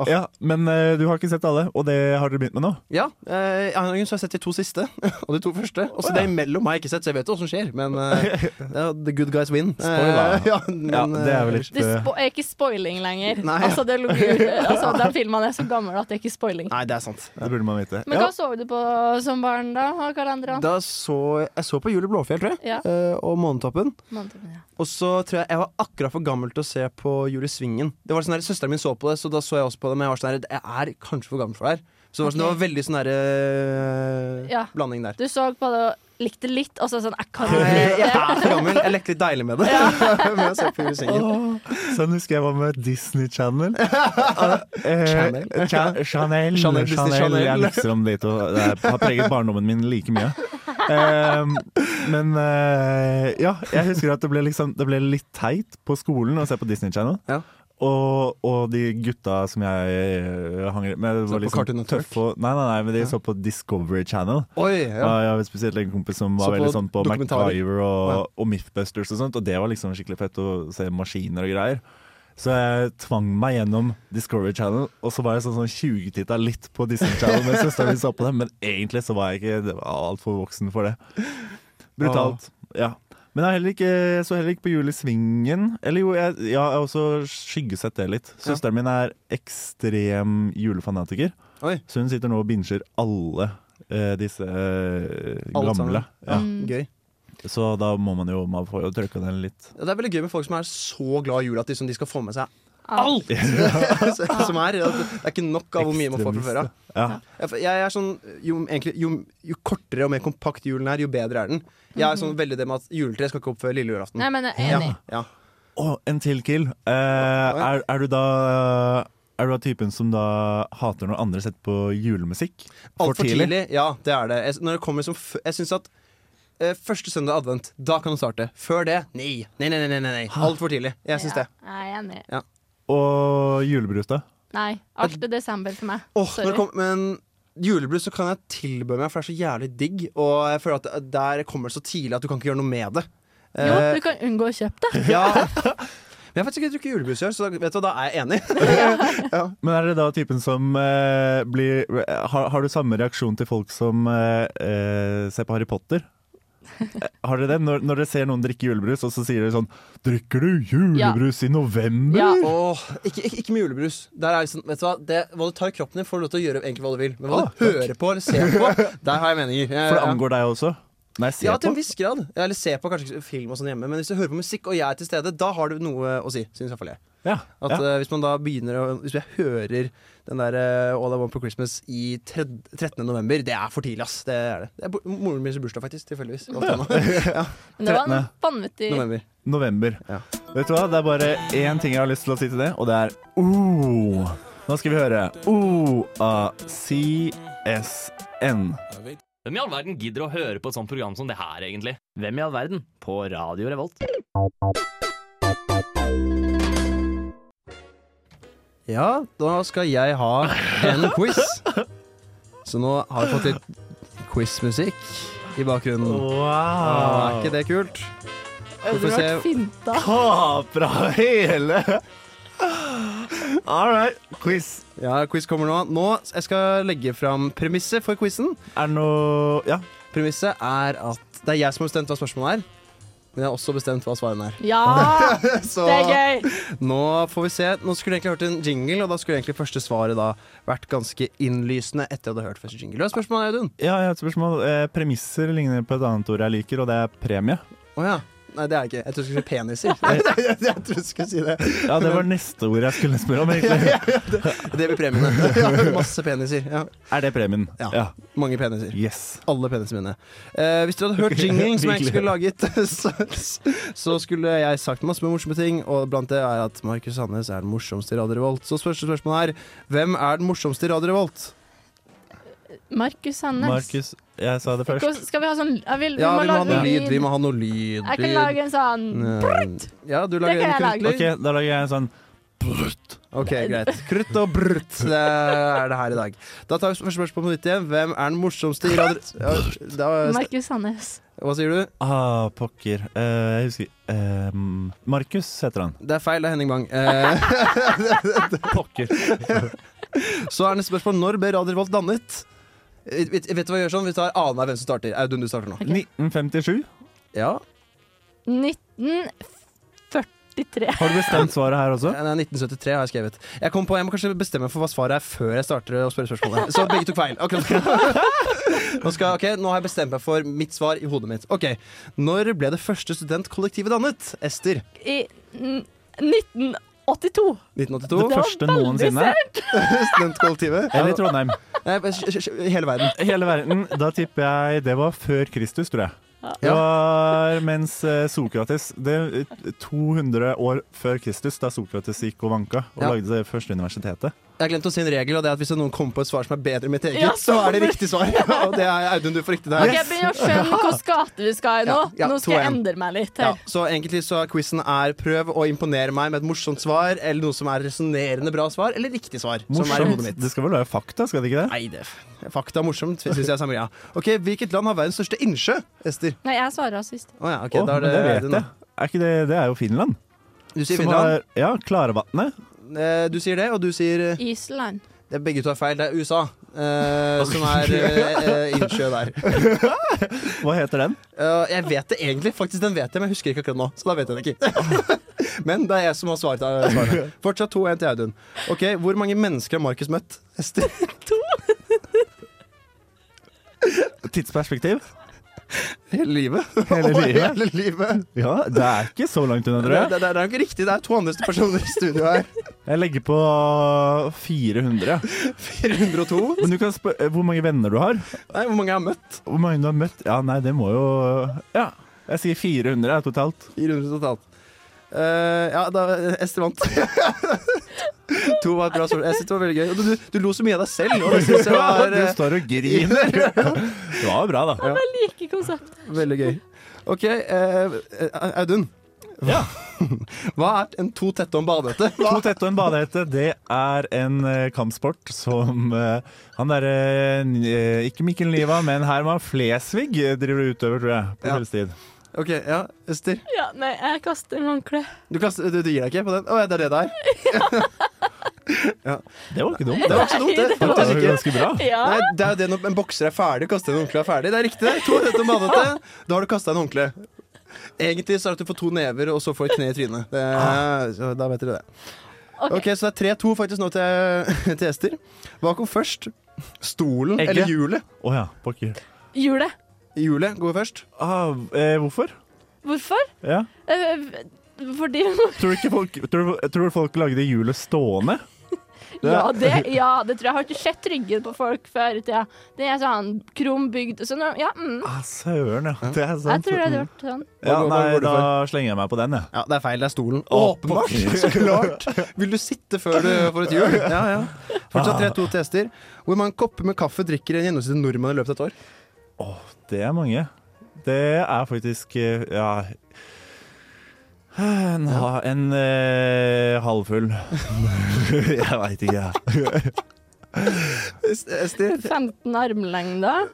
[SPEAKER 2] Åh.
[SPEAKER 3] Ja, men eh, du har ikke sett alle, og det har dere begynt med nå?
[SPEAKER 2] Ja, eh, av en grunn så har jeg sett de to siste, og de to første. Og så
[SPEAKER 3] Å, ja.
[SPEAKER 2] det imellom har jeg ikke sett, så jeg vet jo hva som skjer. Men eh, ja, the good guys win. Eh,
[SPEAKER 3] Spoiler.
[SPEAKER 2] ja, men,
[SPEAKER 3] Ja, det er vel litt
[SPEAKER 4] Det
[SPEAKER 3] eh,
[SPEAKER 4] spo er ikke spoiling lenger.
[SPEAKER 2] Nei.
[SPEAKER 4] Altså, det lå jo- altså, de filmene er så gamle at det er ikke spoiling.
[SPEAKER 2] eh, Nei, det er sant.
[SPEAKER 3] Det burde man vite.
[SPEAKER 4] Men
[SPEAKER 3] Ja.
[SPEAKER 4] hva så du på som barn, da? Av kalenderen?
[SPEAKER 2] Da så Jeg så på Jul i Blåfjell, tror jeg.
[SPEAKER 4] Ja.
[SPEAKER 2] eh, og Månetoppen.
[SPEAKER 4] Måneden, ja.
[SPEAKER 2] Og så tror jeg jeg var akkurat for gammel til å se på Jul i Svingen. Det var sånn der, Søsteren min så på det, så da så jeg også på det. Men jeg var sånn der, jeg er kanskje for gammel for det her. Så det var, sånn, det var veldig sånn der, eh,
[SPEAKER 4] Ja.
[SPEAKER 2] blanding der.
[SPEAKER 4] Du så på det og likte litt, og så sånn Jeg kan ikke
[SPEAKER 2] Nei,
[SPEAKER 4] like
[SPEAKER 2] jeg
[SPEAKER 4] det.
[SPEAKER 2] er for gammel. Jeg lekte litt deilig med det. med å se på Jul i Svingen.
[SPEAKER 3] Sånn husker jeg var med Disney Channel.
[SPEAKER 2] Ah,
[SPEAKER 3] Eh,
[SPEAKER 2] Channel.
[SPEAKER 3] Cha Chanel.
[SPEAKER 2] Chanel, Disney Chanel.
[SPEAKER 3] Jeg mikser om de to. Det er- har preget barndommen min like mye. Eh, men eh, ja, jeg husker at det ble, liksom, det ble litt teit på skolen å se på Disney Channel.
[SPEAKER 2] Ja.
[SPEAKER 3] Og, og de gutta som jeg eh, hang med,
[SPEAKER 2] Så
[SPEAKER 3] var
[SPEAKER 2] på Cartoon
[SPEAKER 3] liksom
[SPEAKER 2] Network?
[SPEAKER 3] tøffe. og- Nei, nei, nei, men de så på Discovery Channel.
[SPEAKER 2] Oi,
[SPEAKER 3] Ja.
[SPEAKER 2] ja.
[SPEAKER 3] jeg har spesielt en kompis som
[SPEAKER 2] Så
[SPEAKER 3] var
[SPEAKER 2] på
[SPEAKER 3] veldig sånn på
[SPEAKER 2] dokumentarer.
[SPEAKER 3] MacGyver og,
[SPEAKER 2] Å, ja.
[SPEAKER 3] og Mythbusters og sånt, og det var liksom skikkelig fett å se maskiner og greier. Så jeg tvang meg gjennom Discovery Channel, og så var jeg sånn, sånn 20-titta litt på Disney Channel mens søsteren min så på det, men egentlig så var jeg ikke det var altfor voksen for det. Brutalt. Ja. Men jeg, har heller ikke, jeg så heller ikke på Jul i Svingen. Eller jo, jeg, ja, jeg har også skyggesett det litt. Søsteren min er ekstrem julefanatiker.
[SPEAKER 2] Oi.
[SPEAKER 3] Så hun sitter nå og binger alle eh, disse eh,
[SPEAKER 2] Alt
[SPEAKER 3] gamle.
[SPEAKER 2] sammen. Mm.
[SPEAKER 3] Ja.
[SPEAKER 4] Mm.
[SPEAKER 2] Gøy.
[SPEAKER 3] Så da må man jo Man får jo trykka den litt.
[SPEAKER 2] Ja, det er veldig gøy med folk som er så glad i jul at liksom de, som de skal få med seg alt! som er, at det er ikke nok av hvor mye man får fra før av.
[SPEAKER 3] Ja.
[SPEAKER 2] Ja, for Jeg er sånn, jo, egentlig, jo, jo kortere og mer kompakt julen er, jo bedre er den. Jeg er sånn veldig det med at juletreet skal ikke opp før lille julaften.
[SPEAKER 4] Mhm. Nei, men jeg er
[SPEAKER 2] Ja,
[SPEAKER 4] enig.
[SPEAKER 2] ja.
[SPEAKER 3] Å, en til kill. Eh, er, er du da Er du da typen som da hater når andre setter på julemusikk?
[SPEAKER 2] Altfor tidlig. Ja, det er det. Jeg, når det kommer som f Jeg syns at eh, første søndag i advent, da kan du starte. Før det, nei. Nei, nei, nei. nei, nei. Altfor tidlig. Jeg syns
[SPEAKER 4] Ja,
[SPEAKER 2] det.
[SPEAKER 4] Jeg er enig.
[SPEAKER 3] Og julebrus, da?
[SPEAKER 4] Nei, alt er desember for meg.
[SPEAKER 2] Åh, når det kom, men julebrus så kan jeg tilbøye meg, for det er så jævlig digg. Og jeg føler at der kommer det så tidlig at du kan ikke gjøre noe med det.
[SPEAKER 4] Jo,
[SPEAKER 2] Eh,
[SPEAKER 4] du kan unngå å kjøpe det.
[SPEAKER 2] ja. Men jeg har faktisk ikke drukket julebrus i år, så da, vet du, hva, da er jeg enig.
[SPEAKER 3] Men er det da typen som eh, blir har, har du samme reaksjon til folk som eh, eh, ser på Harry Potter? Eh, Har dere det? Når, når dere ser noen drikke julebrus, og så sier dere sånn 'Drikker du julebrus i november?'
[SPEAKER 4] Ja.
[SPEAKER 2] Åh, ikke, ikke, ikke med julebrus. Der er liksom, vet du hva, det, hva du tar i kroppen din, får du lov til å gjøre egentlig hva du vil. Men hva du hører på eller ser på, der har jeg meninger.
[SPEAKER 3] For det
[SPEAKER 2] Ja, ja.
[SPEAKER 3] angår deg også? Nei, se
[SPEAKER 2] Ja, til
[SPEAKER 3] på.
[SPEAKER 2] en viss grad. Eller ser på kanskje ikke film og sånn hjemme, men hvis du hører på musikk og jeg er til stede, da har du noe å si, syns iallfall jeg.
[SPEAKER 3] Ja,
[SPEAKER 2] At
[SPEAKER 3] ja.
[SPEAKER 2] eh, Hvis man da begynner å Hvis jeg hører den der eh, All I Want for Christmas i tred, 13. november, det er for tidlig, ass. Det er det. det er bo- moren min sin bursdag, faktisk. Tilfeldigvis. Alt annet.
[SPEAKER 4] Men det var en
[SPEAKER 3] Trettende.
[SPEAKER 4] vanvittig
[SPEAKER 2] November.
[SPEAKER 3] November.
[SPEAKER 2] Ja.
[SPEAKER 3] Vet du hva, det er bare én ting jeg har lyst til å si til det, og det er O. Nå skal vi høre O-A-C-S-N.
[SPEAKER 6] Hvem i all verden gidder å høre på et sånt program som det her, egentlig?
[SPEAKER 7] Hvem i all verden? På Radio Revolt.
[SPEAKER 2] Ja, da skal jeg ha en quiz. Så nå har vi fått litt quizmusikk i bakgrunnen. Ah, er ikke det kult?
[SPEAKER 4] Hadde
[SPEAKER 2] får
[SPEAKER 4] du
[SPEAKER 2] se-
[SPEAKER 4] vært finta?
[SPEAKER 3] Ta fra hele All right, quiz.
[SPEAKER 2] Ja, quiz kommer nå. Nå jeg skal legge fram premisset for quizen.
[SPEAKER 3] Er det noe Ja.
[SPEAKER 2] Premisset er at det er jeg som har bestemt hva spørsmålet er. Men jeg har også bestemt hva svarene er.
[SPEAKER 4] Ja!
[SPEAKER 2] Så
[SPEAKER 4] Det er gøy!
[SPEAKER 2] nå får vi se. Nå skulle jeg egentlig hørt en jingle, og da skulle egentlig første svaret da vært ganske innlysende etter jeg hadde hørt første jingle. Hva er spørsmålet, Audun?
[SPEAKER 3] ja, jeg har et spørsmål. Eh, premisser ligner på et annet ord jeg liker, og det er premie.
[SPEAKER 2] Å ja. Nei, det er jeg ikke. Jeg trodde du skulle si peniser. jeg trodde du skulle si det.
[SPEAKER 3] Ja, Det var neste ord jeg skulle spørre om, egentlig.
[SPEAKER 2] Det blir premiene. ja, masse peniser. Ja.
[SPEAKER 3] Er det premien?
[SPEAKER 2] Ja. Mange peniser.
[SPEAKER 3] Yes.
[SPEAKER 2] Alle penisene mine. Eh, hvis dere hadde hørt jingling som jeg ikke skulle laget, så, så skulle jeg sagt masse morsomme ting, og blant det er at Markus Sandnes er den morsomste i Radio Revolt. Så første spørsmålet er hvem er den morsomste i Radio Revolt?
[SPEAKER 4] Markus Hannes.
[SPEAKER 3] Markus, jeg sa det først.
[SPEAKER 4] Hvordan- Skal vi ha sånn jeg vil,
[SPEAKER 2] Ja,
[SPEAKER 4] Vi må
[SPEAKER 2] vi må ha
[SPEAKER 4] lage
[SPEAKER 2] noe
[SPEAKER 4] noe
[SPEAKER 2] lyd. Vi må ha noe lyd.
[SPEAKER 4] Jeg kan
[SPEAKER 2] lyd.
[SPEAKER 4] lage en sånn
[SPEAKER 2] Eh, Ja, du lager
[SPEAKER 4] Det
[SPEAKER 2] en
[SPEAKER 4] kan jeg
[SPEAKER 2] kruttlyd.
[SPEAKER 3] OK, da lager jeg en sånn
[SPEAKER 2] Ok, greit. Krutt og brutt, det er det her i dag. Da tar vi første spørsmål på nytt igjen. Hvem er den morsomste i Radio ja, da,
[SPEAKER 4] Markus Hannes.
[SPEAKER 2] Hva sier du?
[SPEAKER 3] Ah, pokker. Eh, jeg husker eh, Markus heter han.
[SPEAKER 2] Det er feil, det er Henning Bang. Eh,
[SPEAKER 3] Pokker.
[SPEAKER 2] så er neste spørsmål når ble Radio Revolt dannet? Eh, Vet, vet du hva vi gjør sånn? Vi tar annenhver hvem som starter. Audun, du starter nå.
[SPEAKER 3] 1957.
[SPEAKER 2] Ja,
[SPEAKER 4] 1943.
[SPEAKER 3] Har du bestemt svaret her også?
[SPEAKER 2] Nei, 1973 har jeg skrevet. Jeg kom på, jeg må kanskje bestemme meg for hva svaret er før jeg starter å spørre spørsmålet. Så begge tok feil. Ok, Nå, skal, ok, nå har jeg bestemt meg for mitt svar i hodet mitt. Ok, Når ble det første studentkollektivet dannet? Ester.
[SPEAKER 4] I n- 1982.
[SPEAKER 3] Det
[SPEAKER 2] 1982.
[SPEAKER 3] første noensinne?
[SPEAKER 2] Studentkollektivet.
[SPEAKER 3] Eller i Trondheim?
[SPEAKER 2] Nei, men sj- sj- sj- Hele verden.
[SPEAKER 3] Hele verden. Da tipper jeg det var før Kristus, tror jeg. Det
[SPEAKER 2] Ja.
[SPEAKER 3] var mens eh, Sokrates det, 200 år før Kristus, da Sokrates gikk og vanka og
[SPEAKER 2] Ja.
[SPEAKER 3] lagde det første universitetet.
[SPEAKER 2] Jeg har glemt å si en regel, og det er at hvis noen kommer på et svar som er bedre enn mitt eget,
[SPEAKER 4] Ja,
[SPEAKER 2] så er det riktig svar. Og det er Audun, du får riktig der.
[SPEAKER 4] Ok, Jeg begynner å skjønne hvilken gate vi skal i nå.
[SPEAKER 2] Ja, ja,
[SPEAKER 4] Nå skal jeg
[SPEAKER 2] 2-1.
[SPEAKER 4] endre meg litt
[SPEAKER 2] Ja,
[SPEAKER 4] her.
[SPEAKER 2] så egentlig så er quizen er prøv å imponere meg med et morsomt svar, eller noe som er resonnerende bra svar, eller riktig svar. Som er i hodet
[SPEAKER 3] Morsomt.
[SPEAKER 2] mitt.
[SPEAKER 3] Det skal vel være fakta, skal det ikke det?
[SPEAKER 2] Nei, det er fakta er morsomt, syns jeg. Samuel, ja. Ok, Hvilket land har verdens største innsjø? Ester.
[SPEAKER 4] Nei, jeg svarer sist.
[SPEAKER 2] Å ja, ok,
[SPEAKER 3] Å,
[SPEAKER 2] da
[SPEAKER 3] men
[SPEAKER 2] er det,
[SPEAKER 3] det vet
[SPEAKER 2] Audun,
[SPEAKER 3] jeg.
[SPEAKER 2] da.
[SPEAKER 3] Er ikke det, det er jo Finland.
[SPEAKER 2] Du sier
[SPEAKER 3] Som
[SPEAKER 2] Finland.
[SPEAKER 3] har- ja, Klaravatnet.
[SPEAKER 2] Eh, Du sier det, og du sier eh,
[SPEAKER 4] Island.
[SPEAKER 2] det er Begge to er feil. Det er USA eh, som er eh, eh, innsjø der.
[SPEAKER 3] Hva heter den?
[SPEAKER 2] Eh, jeg vet det egentlig. Faktisk, den vet jeg, men jeg husker ikke akkurat nå. Så da vet jeg det ikke. men det er jeg som har svaret. svarene. Fortsatt 2-1 til Audun. Ok, Hvor mange mennesker har Markus møtt? Ester?
[SPEAKER 3] Tidsperspektiv?
[SPEAKER 2] Hele livet.
[SPEAKER 3] Hele livet?
[SPEAKER 2] Hele livet.
[SPEAKER 3] Ja, det er ikke så langt unna,
[SPEAKER 2] Det,
[SPEAKER 3] tror jeg.
[SPEAKER 2] det, det er jo ikke riktig. Det er to andre personer i studio her.
[SPEAKER 3] Jeg legger på 400.
[SPEAKER 2] 402.
[SPEAKER 3] Men du kan spørre hvor mange venner du har.
[SPEAKER 2] Nei, hvor mange jeg har møtt?
[SPEAKER 3] Hvor mange du har møtt? Ja, nei, det må jo Ja. Jeg sier 400 er totalt.
[SPEAKER 2] 400 totalt. Eh, ja, da Ester vant. to var et bra spørsmål. Jeg synes det var veldig gøy. Og du, du, du lo så mye av deg selv. Og det synes jeg var
[SPEAKER 3] Du
[SPEAKER 2] eh,
[SPEAKER 3] står og griner. Det var jo bra, da.
[SPEAKER 4] Jeg liker konseptet.
[SPEAKER 2] veldig gøy. OK, eh, eh, Audun.
[SPEAKER 3] Ja.
[SPEAKER 2] Hva er en to tette og en badehette?
[SPEAKER 3] To tette og en badehette, det er en eh, kampsport som eh, han derre eh, Ikke Mikkel Niva, men Herman Flesvig eh, driver og utøver, tror jeg, på
[SPEAKER 2] Ja.
[SPEAKER 3] kveldstid.
[SPEAKER 2] OK, ja, Ester.
[SPEAKER 4] Ja, nei, jeg kaster sånn håndkle.
[SPEAKER 2] Du, kaster, du, du gir deg ikke på den? Å, ja, det er det der.
[SPEAKER 3] Det var ikke
[SPEAKER 2] Det
[SPEAKER 3] dumt, det.
[SPEAKER 2] var ikke så dumt, det.
[SPEAKER 3] Det var
[SPEAKER 2] Faktisk ikke.
[SPEAKER 3] ganske bra.
[SPEAKER 4] Ja.
[SPEAKER 2] Nei, det er jo det når en bokser er ferdig, kaster en håndkle er ferdig. Det er riktig, det. To rette om badete. Da har du kasta en håndkle. Egentlig så er det at du får to never, og så får du et kne i trynet. Det, så da vet dere det.
[SPEAKER 4] Ok.
[SPEAKER 2] Ok, Så det er 3-2 faktisk nå til, til Ester. Hva kom først? Stolen
[SPEAKER 3] Egget.
[SPEAKER 2] eller hjulet?
[SPEAKER 3] Å ja, pokker.
[SPEAKER 4] Hjulet.
[SPEAKER 2] Hjulet går først.
[SPEAKER 3] Ah, eh, hvorfor?
[SPEAKER 4] Hvorfor?
[SPEAKER 3] Ja.
[SPEAKER 4] Eh, Fordi
[SPEAKER 3] Tror du ikke folk, tror, du- tror du folk lagde hjulet stående?
[SPEAKER 4] Ja det, ja, det tror jeg. Jeg har ikke sett ryggen på folk før i tida. Det er sånn krum bygd sånn, Ja, mm.
[SPEAKER 3] Ah, søren, ja. Det er
[SPEAKER 4] jeg
[SPEAKER 3] sant.
[SPEAKER 4] tror det hadde vært sånn.
[SPEAKER 3] Ja,
[SPEAKER 2] Hva- hva
[SPEAKER 3] nei,
[SPEAKER 2] går du
[SPEAKER 3] da slenger jeg meg på den, jeg.
[SPEAKER 2] Ja, Det er feil. Det er stolen.
[SPEAKER 3] Å,
[SPEAKER 2] Åpenbart!
[SPEAKER 3] pokker.
[SPEAKER 2] Så klart! Vil du sitte før du får et hjul? Ja, Ah. ja. Fortsatt 3-2 til Ester. Hvor mange kopper med kaffe drikker en gjennomsnittlig nordmann i løpet av et år?
[SPEAKER 3] Det er mange. Det er faktisk eh, ja en, ha- en eh, halvfull. jeg veit ikke, jeg.
[SPEAKER 2] Es- Esti,
[SPEAKER 4] 15 armlengder.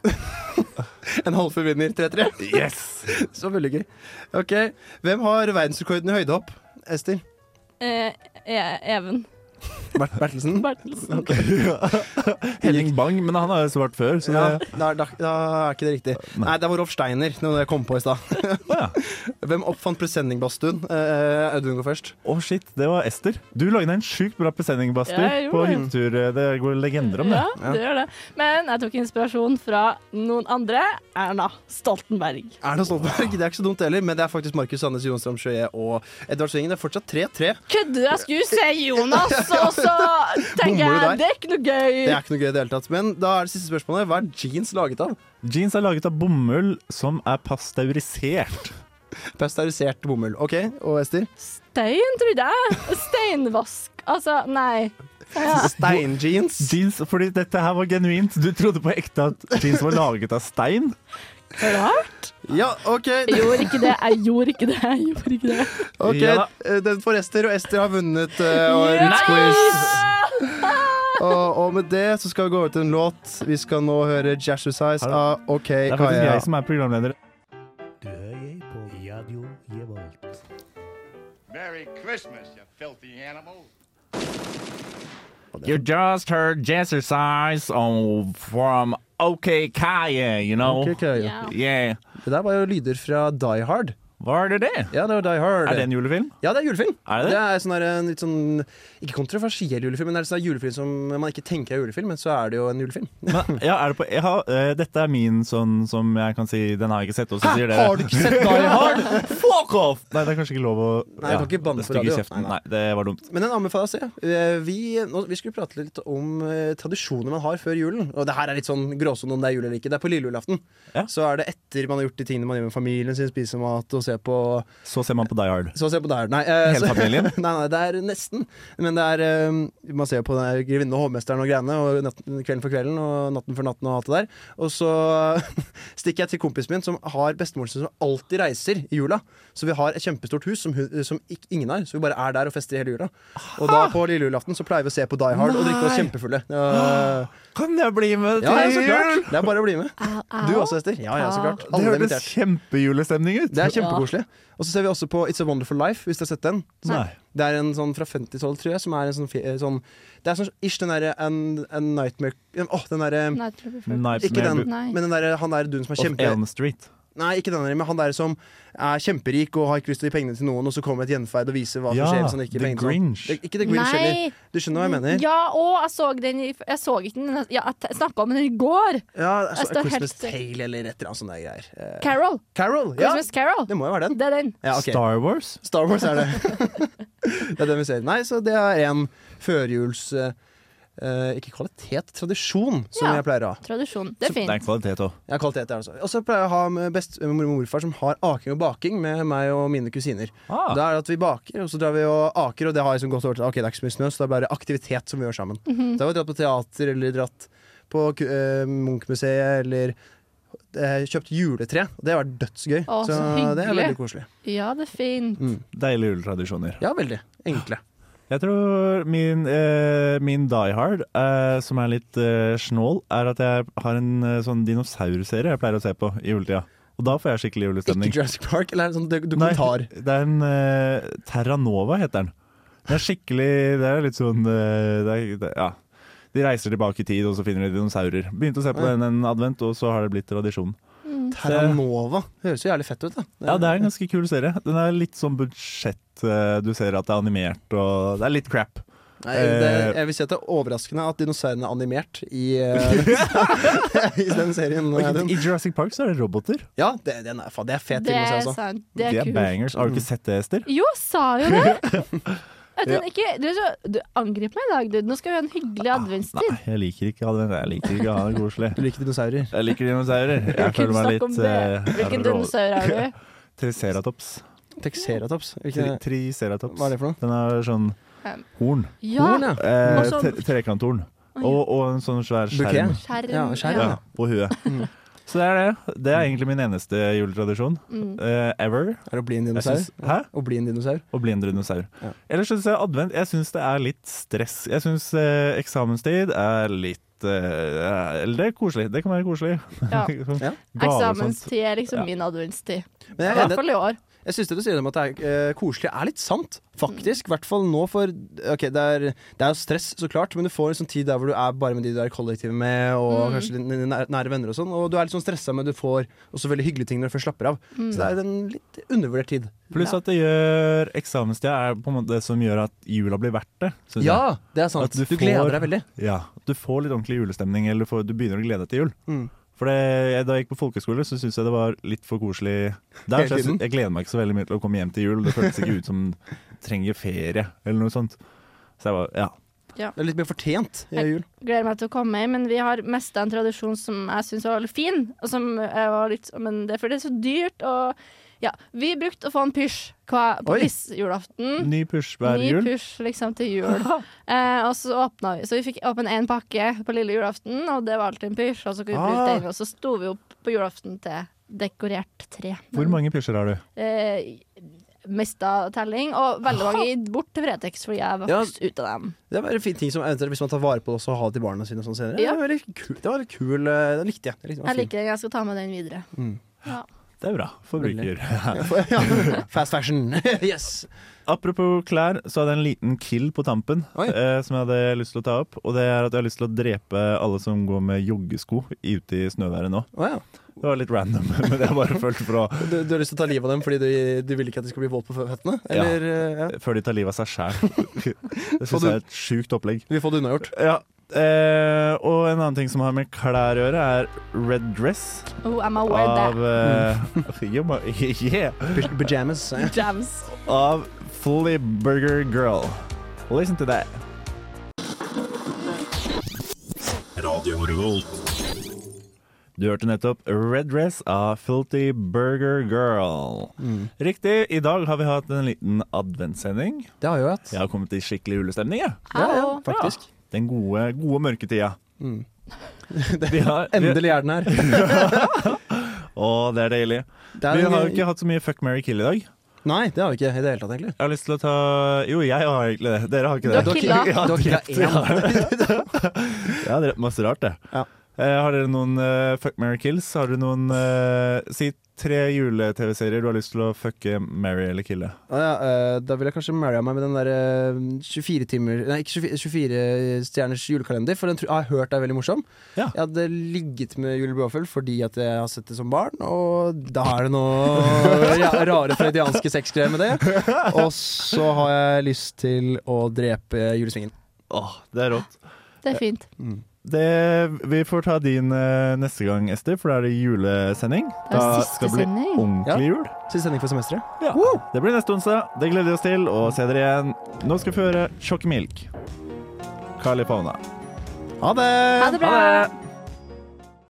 [SPEAKER 2] en halvfull vinner 3-3.
[SPEAKER 3] Yes!
[SPEAKER 2] Så veldig gøy. Ok, Hvem har verdensrekorden i høydehopp? Esti
[SPEAKER 4] Eh, eh, Even
[SPEAKER 2] Bert Bertelsen?
[SPEAKER 4] Bertelsen.
[SPEAKER 3] Henning Bang, men han har jo svart før, så
[SPEAKER 2] Ja,
[SPEAKER 3] det
[SPEAKER 2] da, da, da er ikke det riktig. Nei, det var Rolf Steiner. Noe jeg kom på i stad.
[SPEAKER 3] Å ja.
[SPEAKER 2] Hvem oppfant presenningbadstuen? Eh, Audun går først.
[SPEAKER 3] Å, shit, det var Ester. Du lagde en sjukt bra presenning, Basti,
[SPEAKER 4] Ja, jeg gjorde
[SPEAKER 3] på
[SPEAKER 4] det.
[SPEAKER 3] hyttetur. Det går legender om det.
[SPEAKER 4] Ja, det gjør det. Men jeg tok inspirasjon fra noen andre. Erna Stoltenberg.
[SPEAKER 2] Erna Stoltenberg. Det sånn? er ikke så dumt heller, men det er faktisk Markus Sandnes, Jonstrøm Sjøe og Edvard Svingen. Det er fortsatt 3-3.
[SPEAKER 4] Kødder du? Jeg skulle si Jonas, og så
[SPEAKER 2] Bommer du
[SPEAKER 4] tenker jeg
[SPEAKER 2] der?
[SPEAKER 4] det er ikke noe gøy.
[SPEAKER 2] Det er ikke noe gøy i det hele tatt. Men da er det siste spørsmålet. Hva er jeans laget av?
[SPEAKER 3] Jeans er laget av bomull som er pasteurisert.
[SPEAKER 2] Pasteurisert bomull. OK, og Ester?
[SPEAKER 4] Stein, trodde jeg. Steinvask. Altså, nei. Ja.
[SPEAKER 2] Steinjeans.
[SPEAKER 3] Jeans, fordi dette her var genuint. Du trodde på ekte at jeans var laget av stein.
[SPEAKER 4] Rart.
[SPEAKER 2] Ja, OK.
[SPEAKER 4] Jeg gjorde ikke det, jeg gjorde ikke det. jeg gjorde ikke det.
[SPEAKER 2] Ok,
[SPEAKER 3] Ja da.
[SPEAKER 2] eh, Den får Ester, og Ester har vunnet eh,
[SPEAKER 4] Ja!
[SPEAKER 2] årets quiz. Og, og med det så skal vi gå over til en låt. Vi skal nå høre Jazzusize
[SPEAKER 3] Har du-
[SPEAKER 2] av OK
[SPEAKER 3] Det er faktisk
[SPEAKER 2] Eh, Kaja.
[SPEAKER 3] jeg som er programleder.
[SPEAKER 8] Merry Christmas, you filthy animal.
[SPEAKER 3] You just heard jazzercise on- from OK Kaye, you know.
[SPEAKER 2] OK Kaja.
[SPEAKER 4] Ja.
[SPEAKER 3] Yeah.
[SPEAKER 2] Det der var jo lyder fra Die Hard.
[SPEAKER 3] Var det det?
[SPEAKER 2] Ja, det var Die Hard.
[SPEAKER 3] Er det en julefilm?
[SPEAKER 2] Ja, det er julefilm.
[SPEAKER 3] Er det det?
[SPEAKER 2] Det er sånn der, en litt sånn Ikke kontroversiell julefilm, men det er sånn der julefilm som man ikke tenker er julefilm, men så er det jo en julefilm.
[SPEAKER 3] Men, ja, er det på, jeg har, eh, dette er min sånn som jeg kan si Den har jeg ikke sett, og så sier dere
[SPEAKER 2] Har du ikke sett Die Hard?
[SPEAKER 3] Fuck off! Nei, det er kanskje ikke lov å
[SPEAKER 2] Nei, jeg kan ikke banne på
[SPEAKER 3] stygge
[SPEAKER 2] radio.
[SPEAKER 3] kjeften.
[SPEAKER 2] Nei,
[SPEAKER 3] Nei, det var dumt.
[SPEAKER 2] Men den anbefaler jeg å se. Eh, Vi, nå, vi skulle prate litt om eh, tradisjoner man har før julen. Og det her er litt sånn gråsone om det er jul eller ikke. Det er på lille julaften.
[SPEAKER 3] Ja.
[SPEAKER 2] Så er det etter man har gjort de tingene man gjør med familien sin, spiser mat og ser på
[SPEAKER 3] Så ser man på Die Hard.
[SPEAKER 2] Så ser på der. Nei, eh,
[SPEAKER 3] Hele
[SPEAKER 2] så-
[SPEAKER 3] familien?
[SPEAKER 2] nei, nei, det er nesten. Men det er eh, Man ser på den der Grevinne og hovmesteren og greiene, og natten, Kvelden for kvelden og Natten for natten og alt det der. Og så stikker jeg til kompisen min, som har bestemoren sin som alltid reiser i jula. Så vi har et kjempestort hus som, hun- som ikk- ingen har, så vi bare er der og fester i hele jula. Og da på lille julaften så pleier vi å se på Die Hard og drikke oss
[SPEAKER 3] Nei.
[SPEAKER 2] kjempefulle. Ja,
[SPEAKER 3] Kan jeg bli med
[SPEAKER 2] ja, ja, så klart. Det er bare å bli med. Du også, Ester. Ja, ja, så klart.
[SPEAKER 3] Det
[SPEAKER 2] Alle er invitert.
[SPEAKER 3] hørtes kjempejulestemning ut.
[SPEAKER 2] Det er kjempekoselig. Og så ser vi også på It's a Wonderful Life, hvis du har sett den.
[SPEAKER 3] Nei.
[SPEAKER 2] Det er en sånn fra 50-tallet, tror jeg, som er en sånn, fi- eh, sånn Det er sånn ish den derre en, en Nightmare Åh, den derre
[SPEAKER 4] Nei, jeg tror det var før.
[SPEAKER 3] Knives
[SPEAKER 2] Ikke den,
[SPEAKER 4] Nei.
[SPEAKER 2] men den der, han der duden som er
[SPEAKER 3] of
[SPEAKER 2] kjempe...
[SPEAKER 3] Elm Street.
[SPEAKER 2] Nei, ikke den der, men han der som er kjemperik og har ikke lyst til å gi pengene til noen, og så kommer et gjenferd og viser hva som
[SPEAKER 3] Ja,
[SPEAKER 2] skjer hvis han ikke
[SPEAKER 3] The
[SPEAKER 2] gir penger til noen.
[SPEAKER 3] Grinch.
[SPEAKER 2] Det- Ikke The Grinch
[SPEAKER 4] Nei.
[SPEAKER 2] heller. Du skjønner hva jeg mener?
[SPEAKER 4] Ja, og jeg så den i Jeg så ikke den, ja, jeg snakka om den i går.
[SPEAKER 2] Ja,
[SPEAKER 4] Jeg
[SPEAKER 2] altså,
[SPEAKER 4] står helt
[SPEAKER 2] Christmas
[SPEAKER 4] stille.
[SPEAKER 2] Tale eller et eller annet sånt der greier. Eh,
[SPEAKER 4] Carol.
[SPEAKER 2] Carol! Ja,
[SPEAKER 4] Christmas Carol.
[SPEAKER 2] det må jo være den.
[SPEAKER 4] Det er den.
[SPEAKER 2] Ja, ok.
[SPEAKER 3] Star Wars.
[SPEAKER 2] Star Wars er det. det er det vi ser. Nei, så det er en førjuls... eh, eh, ikke kvalitet, tradisjon, som
[SPEAKER 4] Ja.
[SPEAKER 2] jeg pleier å ha.
[SPEAKER 4] Tradisjon.
[SPEAKER 3] Det
[SPEAKER 4] Det er
[SPEAKER 3] er
[SPEAKER 4] fint.
[SPEAKER 3] en kvalitet òg.
[SPEAKER 2] Ja, kvalitet er det også. Og så pleier jeg å ha med bestemor og morfar som har aking og baking med meg og mine kusiner.
[SPEAKER 3] Ah.
[SPEAKER 2] Da er det at vi baker, og så drar vi og aker, og det har jeg som godt over til. Ok, det er ikke så mye snø, så det er bare aktivitet som vi gjør sammen.
[SPEAKER 4] Mhm.
[SPEAKER 2] Da har vi dratt på teater, eller dratt på ku- eh, Munch-museet, eller eh, kjøpt juletre. Og det har vært dødsgøy.
[SPEAKER 4] Å,
[SPEAKER 2] så det
[SPEAKER 4] så
[SPEAKER 2] er
[SPEAKER 4] hyggelig.
[SPEAKER 2] veldig koselig.
[SPEAKER 4] Ja, det er fint.
[SPEAKER 3] Deilige juletradisjoner.
[SPEAKER 2] Ja, veldig. Enkle.
[SPEAKER 3] Jeg tror min, eh, min Die Hard, eh, som er litt eh, snål, er at jeg har en eh, sånn dinosaurserie jeg pleier å se på i juletida. Og da får jeg skikkelig julestemning.
[SPEAKER 2] Ikke Jurassic Park, eller er det en sånn dok-
[SPEAKER 3] Nei,
[SPEAKER 2] dokumentar?
[SPEAKER 3] det er en eh, Terra Nova heter den. Den er skikkelig Det er litt sånn eh, det er, det, Ja. De reiser tilbake i tid, og så finner de dinosaurer. Begynte å se på den en advent, og så har det blitt tradisjon.
[SPEAKER 4] Mm.
[SPEAKER 2] Terra Nova. Det høres jo jævlig fett ut, da.
[SPEAKER 3] Ja, det er en ganske kul serie. Den er litt sånn budsjett. eh, Du ser at det er animert, og det er litt crap.
[SPEAKER 2] Nei, det, jeg vil si at det er overraskende at dinosaurene er animert i, eh, i den serien.
[SPEAKER 3] Og
[SPEAKER 2] eh,
[SPEAKER 3] i,
[SPEAKER 2] den.
[SPEAKER 3] I Jurassic Park så er det roboter.
[SPEAKER 2] Ja, det, den er, faen, det er fet
[SPEAKER 4] Det
[SPEAKER 2] film å se,
[SPEAKER 4] er
[SPEAKER 2] altså.
[SPEAKER 4] sant.
[SPEAKER 3] De
[SPEAKER 4] Det
[SPEAKER 3] er
[SPEAKER 4] er kult.
[SPEAKER 3] bangers. Har du ikke sett det, Ester?
[SPEAKER 4] Jo, jeg sa jo det! At den ikke, du, er så- du angriper meg i dag, du. Nå skal vi ha en hyggelig adventstid.
[SPEAKER 3] Ah, Nei, jeg liker ikke advent. Jeg liker ikke å ha det koselig.
[SPEAKER 2] Du liker dinosaurer?
[SPEAKER 3] Jeg liker dinosaurer. Jeg
[SPEAKER 4] Kun
[SPEAKER 3] føler meg
[SPEAKER 4] snakk om
[SPEAKER 3] litt
[SPEAKER 4] det.
[SPEAKER 3] eh,
[SPEAKER 4] Hvilken
[SPEAKER 3] rå-
[SPEAKER 4] dinosaur er du?
[SPEAKER 3] Triceratops.
[SPEAKER 2] Texeratops.
[SPEAKER 3] Tri
[SPEAKER 2] Hvilken
[SPEAKER 3] triceratops.
[SPEAKER 2] Hva er det for noe?
[SPEAKER 3] Den har sånn
[SPEAKER 4] Um,
[SPEAKER 3] horn.
[SPEAKER 4] Ja,
[SPEAKER 2] horn, ja?
[SPEAKER 3] Eh,
[SPEAKER 4] Og sånn-
[SPEAKER 3] tre trekanthorn. Og, og en sånn svær skjerm
[SPEAKER 2] Bouquet? Mm.
[SPEAKER 4] skjerm.
[SPEAKER 2] Ja, skjerm,
[SPEAKER 3] ja, på huet. Så det er det. Det er egentlig min eneste juletradisjon
[SPEAKER 4] Mm.
[SPEAKER 3] eh, ever.
[SPEAKER 2] Er det å bli en
[SPEAKER 3] Jeg
[SPEAKER 2] dinosaur?
[SPEAKER 3] syns- hæ?
[SPEAKER 2] Å bli en dinosaur?
[SPEAKER 3] Å bli en dinosaur.
[SPEAKER 2] Ja.
[SPEAKER 3] Ellers syns jeg advent Jeg syns det er litt stress. Jeg syns eh, eksamenstid er litt eh, Eller det er koselig. Det kan være koselig.
[SPEAKER 4] Ja.
[SPEAKER 2] Ja.
[SPEAKER 3] Gave og sånt.
[SPEAKER 4] Eksamenstid er liksom
[SPEAKER 3] Ja.
[SPEAKER 4] min adventstid.
[SPEAKER 2] Men
[SPEAKER 4] I
[SPEAKER 2] jeg er
[SPEAKER 4] hvert
[SPEAKER 2] enig,
[SPEAKER 4] fall i år.
[SPEAKER 2] Jeg syns det du sier om at det er eh, koselig, er litt sant,
[SPEAKER 4] Mm.
[SPEAKER 2] faktisk. I hvert fall nå, for ok, det er, det er jo stress, så klart, men du får en sånn tid der hvor du er bare med de du er i kollektivet med,
[SPEAKER 4] Mm.
[SPEAKER 2] og kanskje dine nære, nære venner og sånn, og du er litt sånn stressa, men du får også veldig hyggelige ting når du først slapper av.
[SPEAKER 4] Mm.
[SPEAKER 2] Så det er en litt undervurdert tid.
[SPEAKER 3] Pluss at det gjør eksamenstida er på en måte det som gjør at jula blir verdt det. synes
[SPEAKER 2] Ja, det er sant.
[SPEAKER 3] At du
[SPEAKER 2] Du,
[SPEAKER 3] får-
[SPEAKER 2] gleder deg veldig.
[SPEAKER 3] jeg. ja. Du får litt ordentlig julestemning, eller du, får, du begynner å glede deg til jul.
[SPEAKER 2] Mm.
[SPEAKER 3] For det, jeg, Da jeg gikk på folkeskole, så syntes jeg det var litt for koselig der.
[SPEAKER 2] Hele
[SPEAKER 3] Så jeg,
[SPEAKER 2] tiden.
[SPEAKER 3] syn- jeg gleder meg ikke så veldig mye til å komme hjem til jul. Det føltes ikke ut som trenger ferie, eller noe sånt. Så jeg var, ja.
[SPEAKER 2] Det er litt mer fortjent i
[SPEAKER 4] Jeg-
[SPEAKER 2] jul.
[SPEAKER 4] Gleder meg til å komme hjem, men vi har mest en tradisjon som jeg syns var veldig fin. Og som jeg var litt, men det er fordi det er så dyrt. Og ja, vi brukte å få en pysj hva- på
[SPEAKER 2] Oi.
[SPEAKER 4] julaften.
[SPEAKER 3] Ny push hver
[SPEAKER 4] Ny
[SPEAKER 3] jul.
[SPEAKER 4] pysj liksom til jul. eh, og så åpna vi. Så vi fikk åpne én pakke på lille julaften, og det var alltid en pysj. Og så kunne vi bruke
[SPEAKER 2] Ah.
[SPEAKER 4] den, og så sto vi opp på julaften til dekorert tre.
[SPEAKER 3] Hvor mange pysjer har du?
[SPEAKER 4] Eh, Mista telling, og veldig mange bort til Fretex, fordi jeg
[SPEAKER 2] Ja.
[SPEAKER 4] vokste ut av dem.
[SPEAKER 2] Det er bare en fin ting som eventuelt hvis man tar vare på det også, og har det til barna sine og sånn senere.
[SPEAKER 4] Ja.
[SPEAKER 2] Det var veldig kul. Det var litt kul eh, Den likte jeg. Den likte
[SPEAKER 4] Jeg
[SPEAKER 2] jeg.
[SPEAKER 4] liker den, jeg skal ta med den videre.
[SPEAKER 3] Det er bra. Forbruker.
[SPEAKER 2] Ja, fast fashion. yes.
[SPEAKER 3] Apropos klær, så hadde jeg en liten kill på tampen
[SPEAKER 2] Oi.
[SPEAKER 3] eh, som jeg hadde lyst til å ta opp. Og det er at jeg har lyst til å drepe alle som går med joggesko ute i snøværet nå.
[SPEAKER 2] Å ja.
[SPEAKER 3] Det var litt random, men jeg bare følte for å
[SPEAKER 2] Du, du har lyst til å ta livet av dem fordi du, du vil ikke at de skal bli voldt på føttene? Eller, eh, ja.
[SPEAKER 3] Før de tar livet av seg sjæl. Det
[SPEAKER 2] Og
[SPEAKER 3] syns
[SPEAKER 2] du-
[SPEAKER 3] jeg er et sjukt opplegg.
[SPEAKER 2] Du vil få det unnagjort?
[SPEAKER 3] Ja. Eh, og en annen ting som har med klær å gjøre, er red dress
[SPEAKER 4] Oh, I'm aware that.
[SPEAKER 3] av eh, ja, ma- yeah,
[SPEAKER 2] Pajamas. Ja.
[SPEAKER 4] Jams.
[SPEAKER 3] Av Fully Burger Girl. Listen to that. Du hørte nettopp Red Dress av Filthy Burger Girl.
[SPEAKER 2] Mm.
[SPEAKER 3] Riktig. I dag har vi hatt en liten adventssending.
[SPEAKER 2] Det har jeg jo hatt.
[SPEAKER 3] Jeg har kommet i skikkelig julestemning, jeg.
[SPEAKER 2] Ja, ja,
[SPEAKER 4] Au.
[SPEAKER 2] faktisk.
[SPEAKER 3] Den gode, gode mørketida.
[SPEAKER 2] Mm.
[SPEAKER 3] Vi har, vi,
[SPEAKER 2] Endelig er den her.
[SPEAKER 3] å, det er deilig.
[SPEAKER 2] Det er
[SPEAKER 3] Vi
[SPEAKER 2] en-
[SPEAKER 3] har jo ikke hatt så mye fuck, marry, kill i dag.
[SPEAKER 2] Nei, det har vi ikke i det hele tatt, egentlig.
[SPEAKER 3] Jeg har lyst til å ta Jo, jeg har egentlig det. Dere har ikke
[SPEAKER 4] Du
[SPEAKER 3] det.
[SPEAKER 4] har killa.
[SPEAKER 2] Du har killa én.
[SPEAKER 3] Jeg har drept masse rart, jeg.
[SPEAKER 2] Ja.
[SPEAKER 3] Eh, har dere noen eh, fuck, marry, kills? Har dere noen eh, Si tre jule-TV-serier du har lyst til å fucke, marry eller kille.
[SPEAKER 2] Å ja, eh, da vil jeg kanskje marry meg med den der eh, 24 timer Nei, ikke 24, 24 stjerners julekalender, for den tror, har jeg hørt er veldig morsom.
[SPEAKER 3] Ja.
[SPEAKER 2] Jeg hadde ligget med Julie Bråfeld fordi at jeg har sett det som barn, og da er det noe ja, rare freudianske sexgreier med det. Og så har jeg lyst til å drepe julesvingen.
[SPEAKER 3] Åh, det er rått.
[SPEAKER 4] Det er fint.
[SPEAKER 3] Det, vi får ta din eh, neste gang, Ester, for da er det julesending.
[SPEAKER 4] Det er
[SPEAKER 3] Da
[SPEAKER 4] siste
[SPEAKER 3] skal det bli
[SPEAKER 4] sending.
[SPEAKER 3] ordentlig
[SPEAKER 2] Ja.
[SPEAKER 3] jul.
[SPEAKER 2] Siste sending for semesteret.
[SPEAKER 3] Ja. Det blir neste onsdag. Det gleder vi oss til. Og se dere igjen. Nå skal vi få høre Tjokk Milk. Carly Fauna.
[SPEAKER 2] Ha det!
[SPEAKER 4] Ha det bra!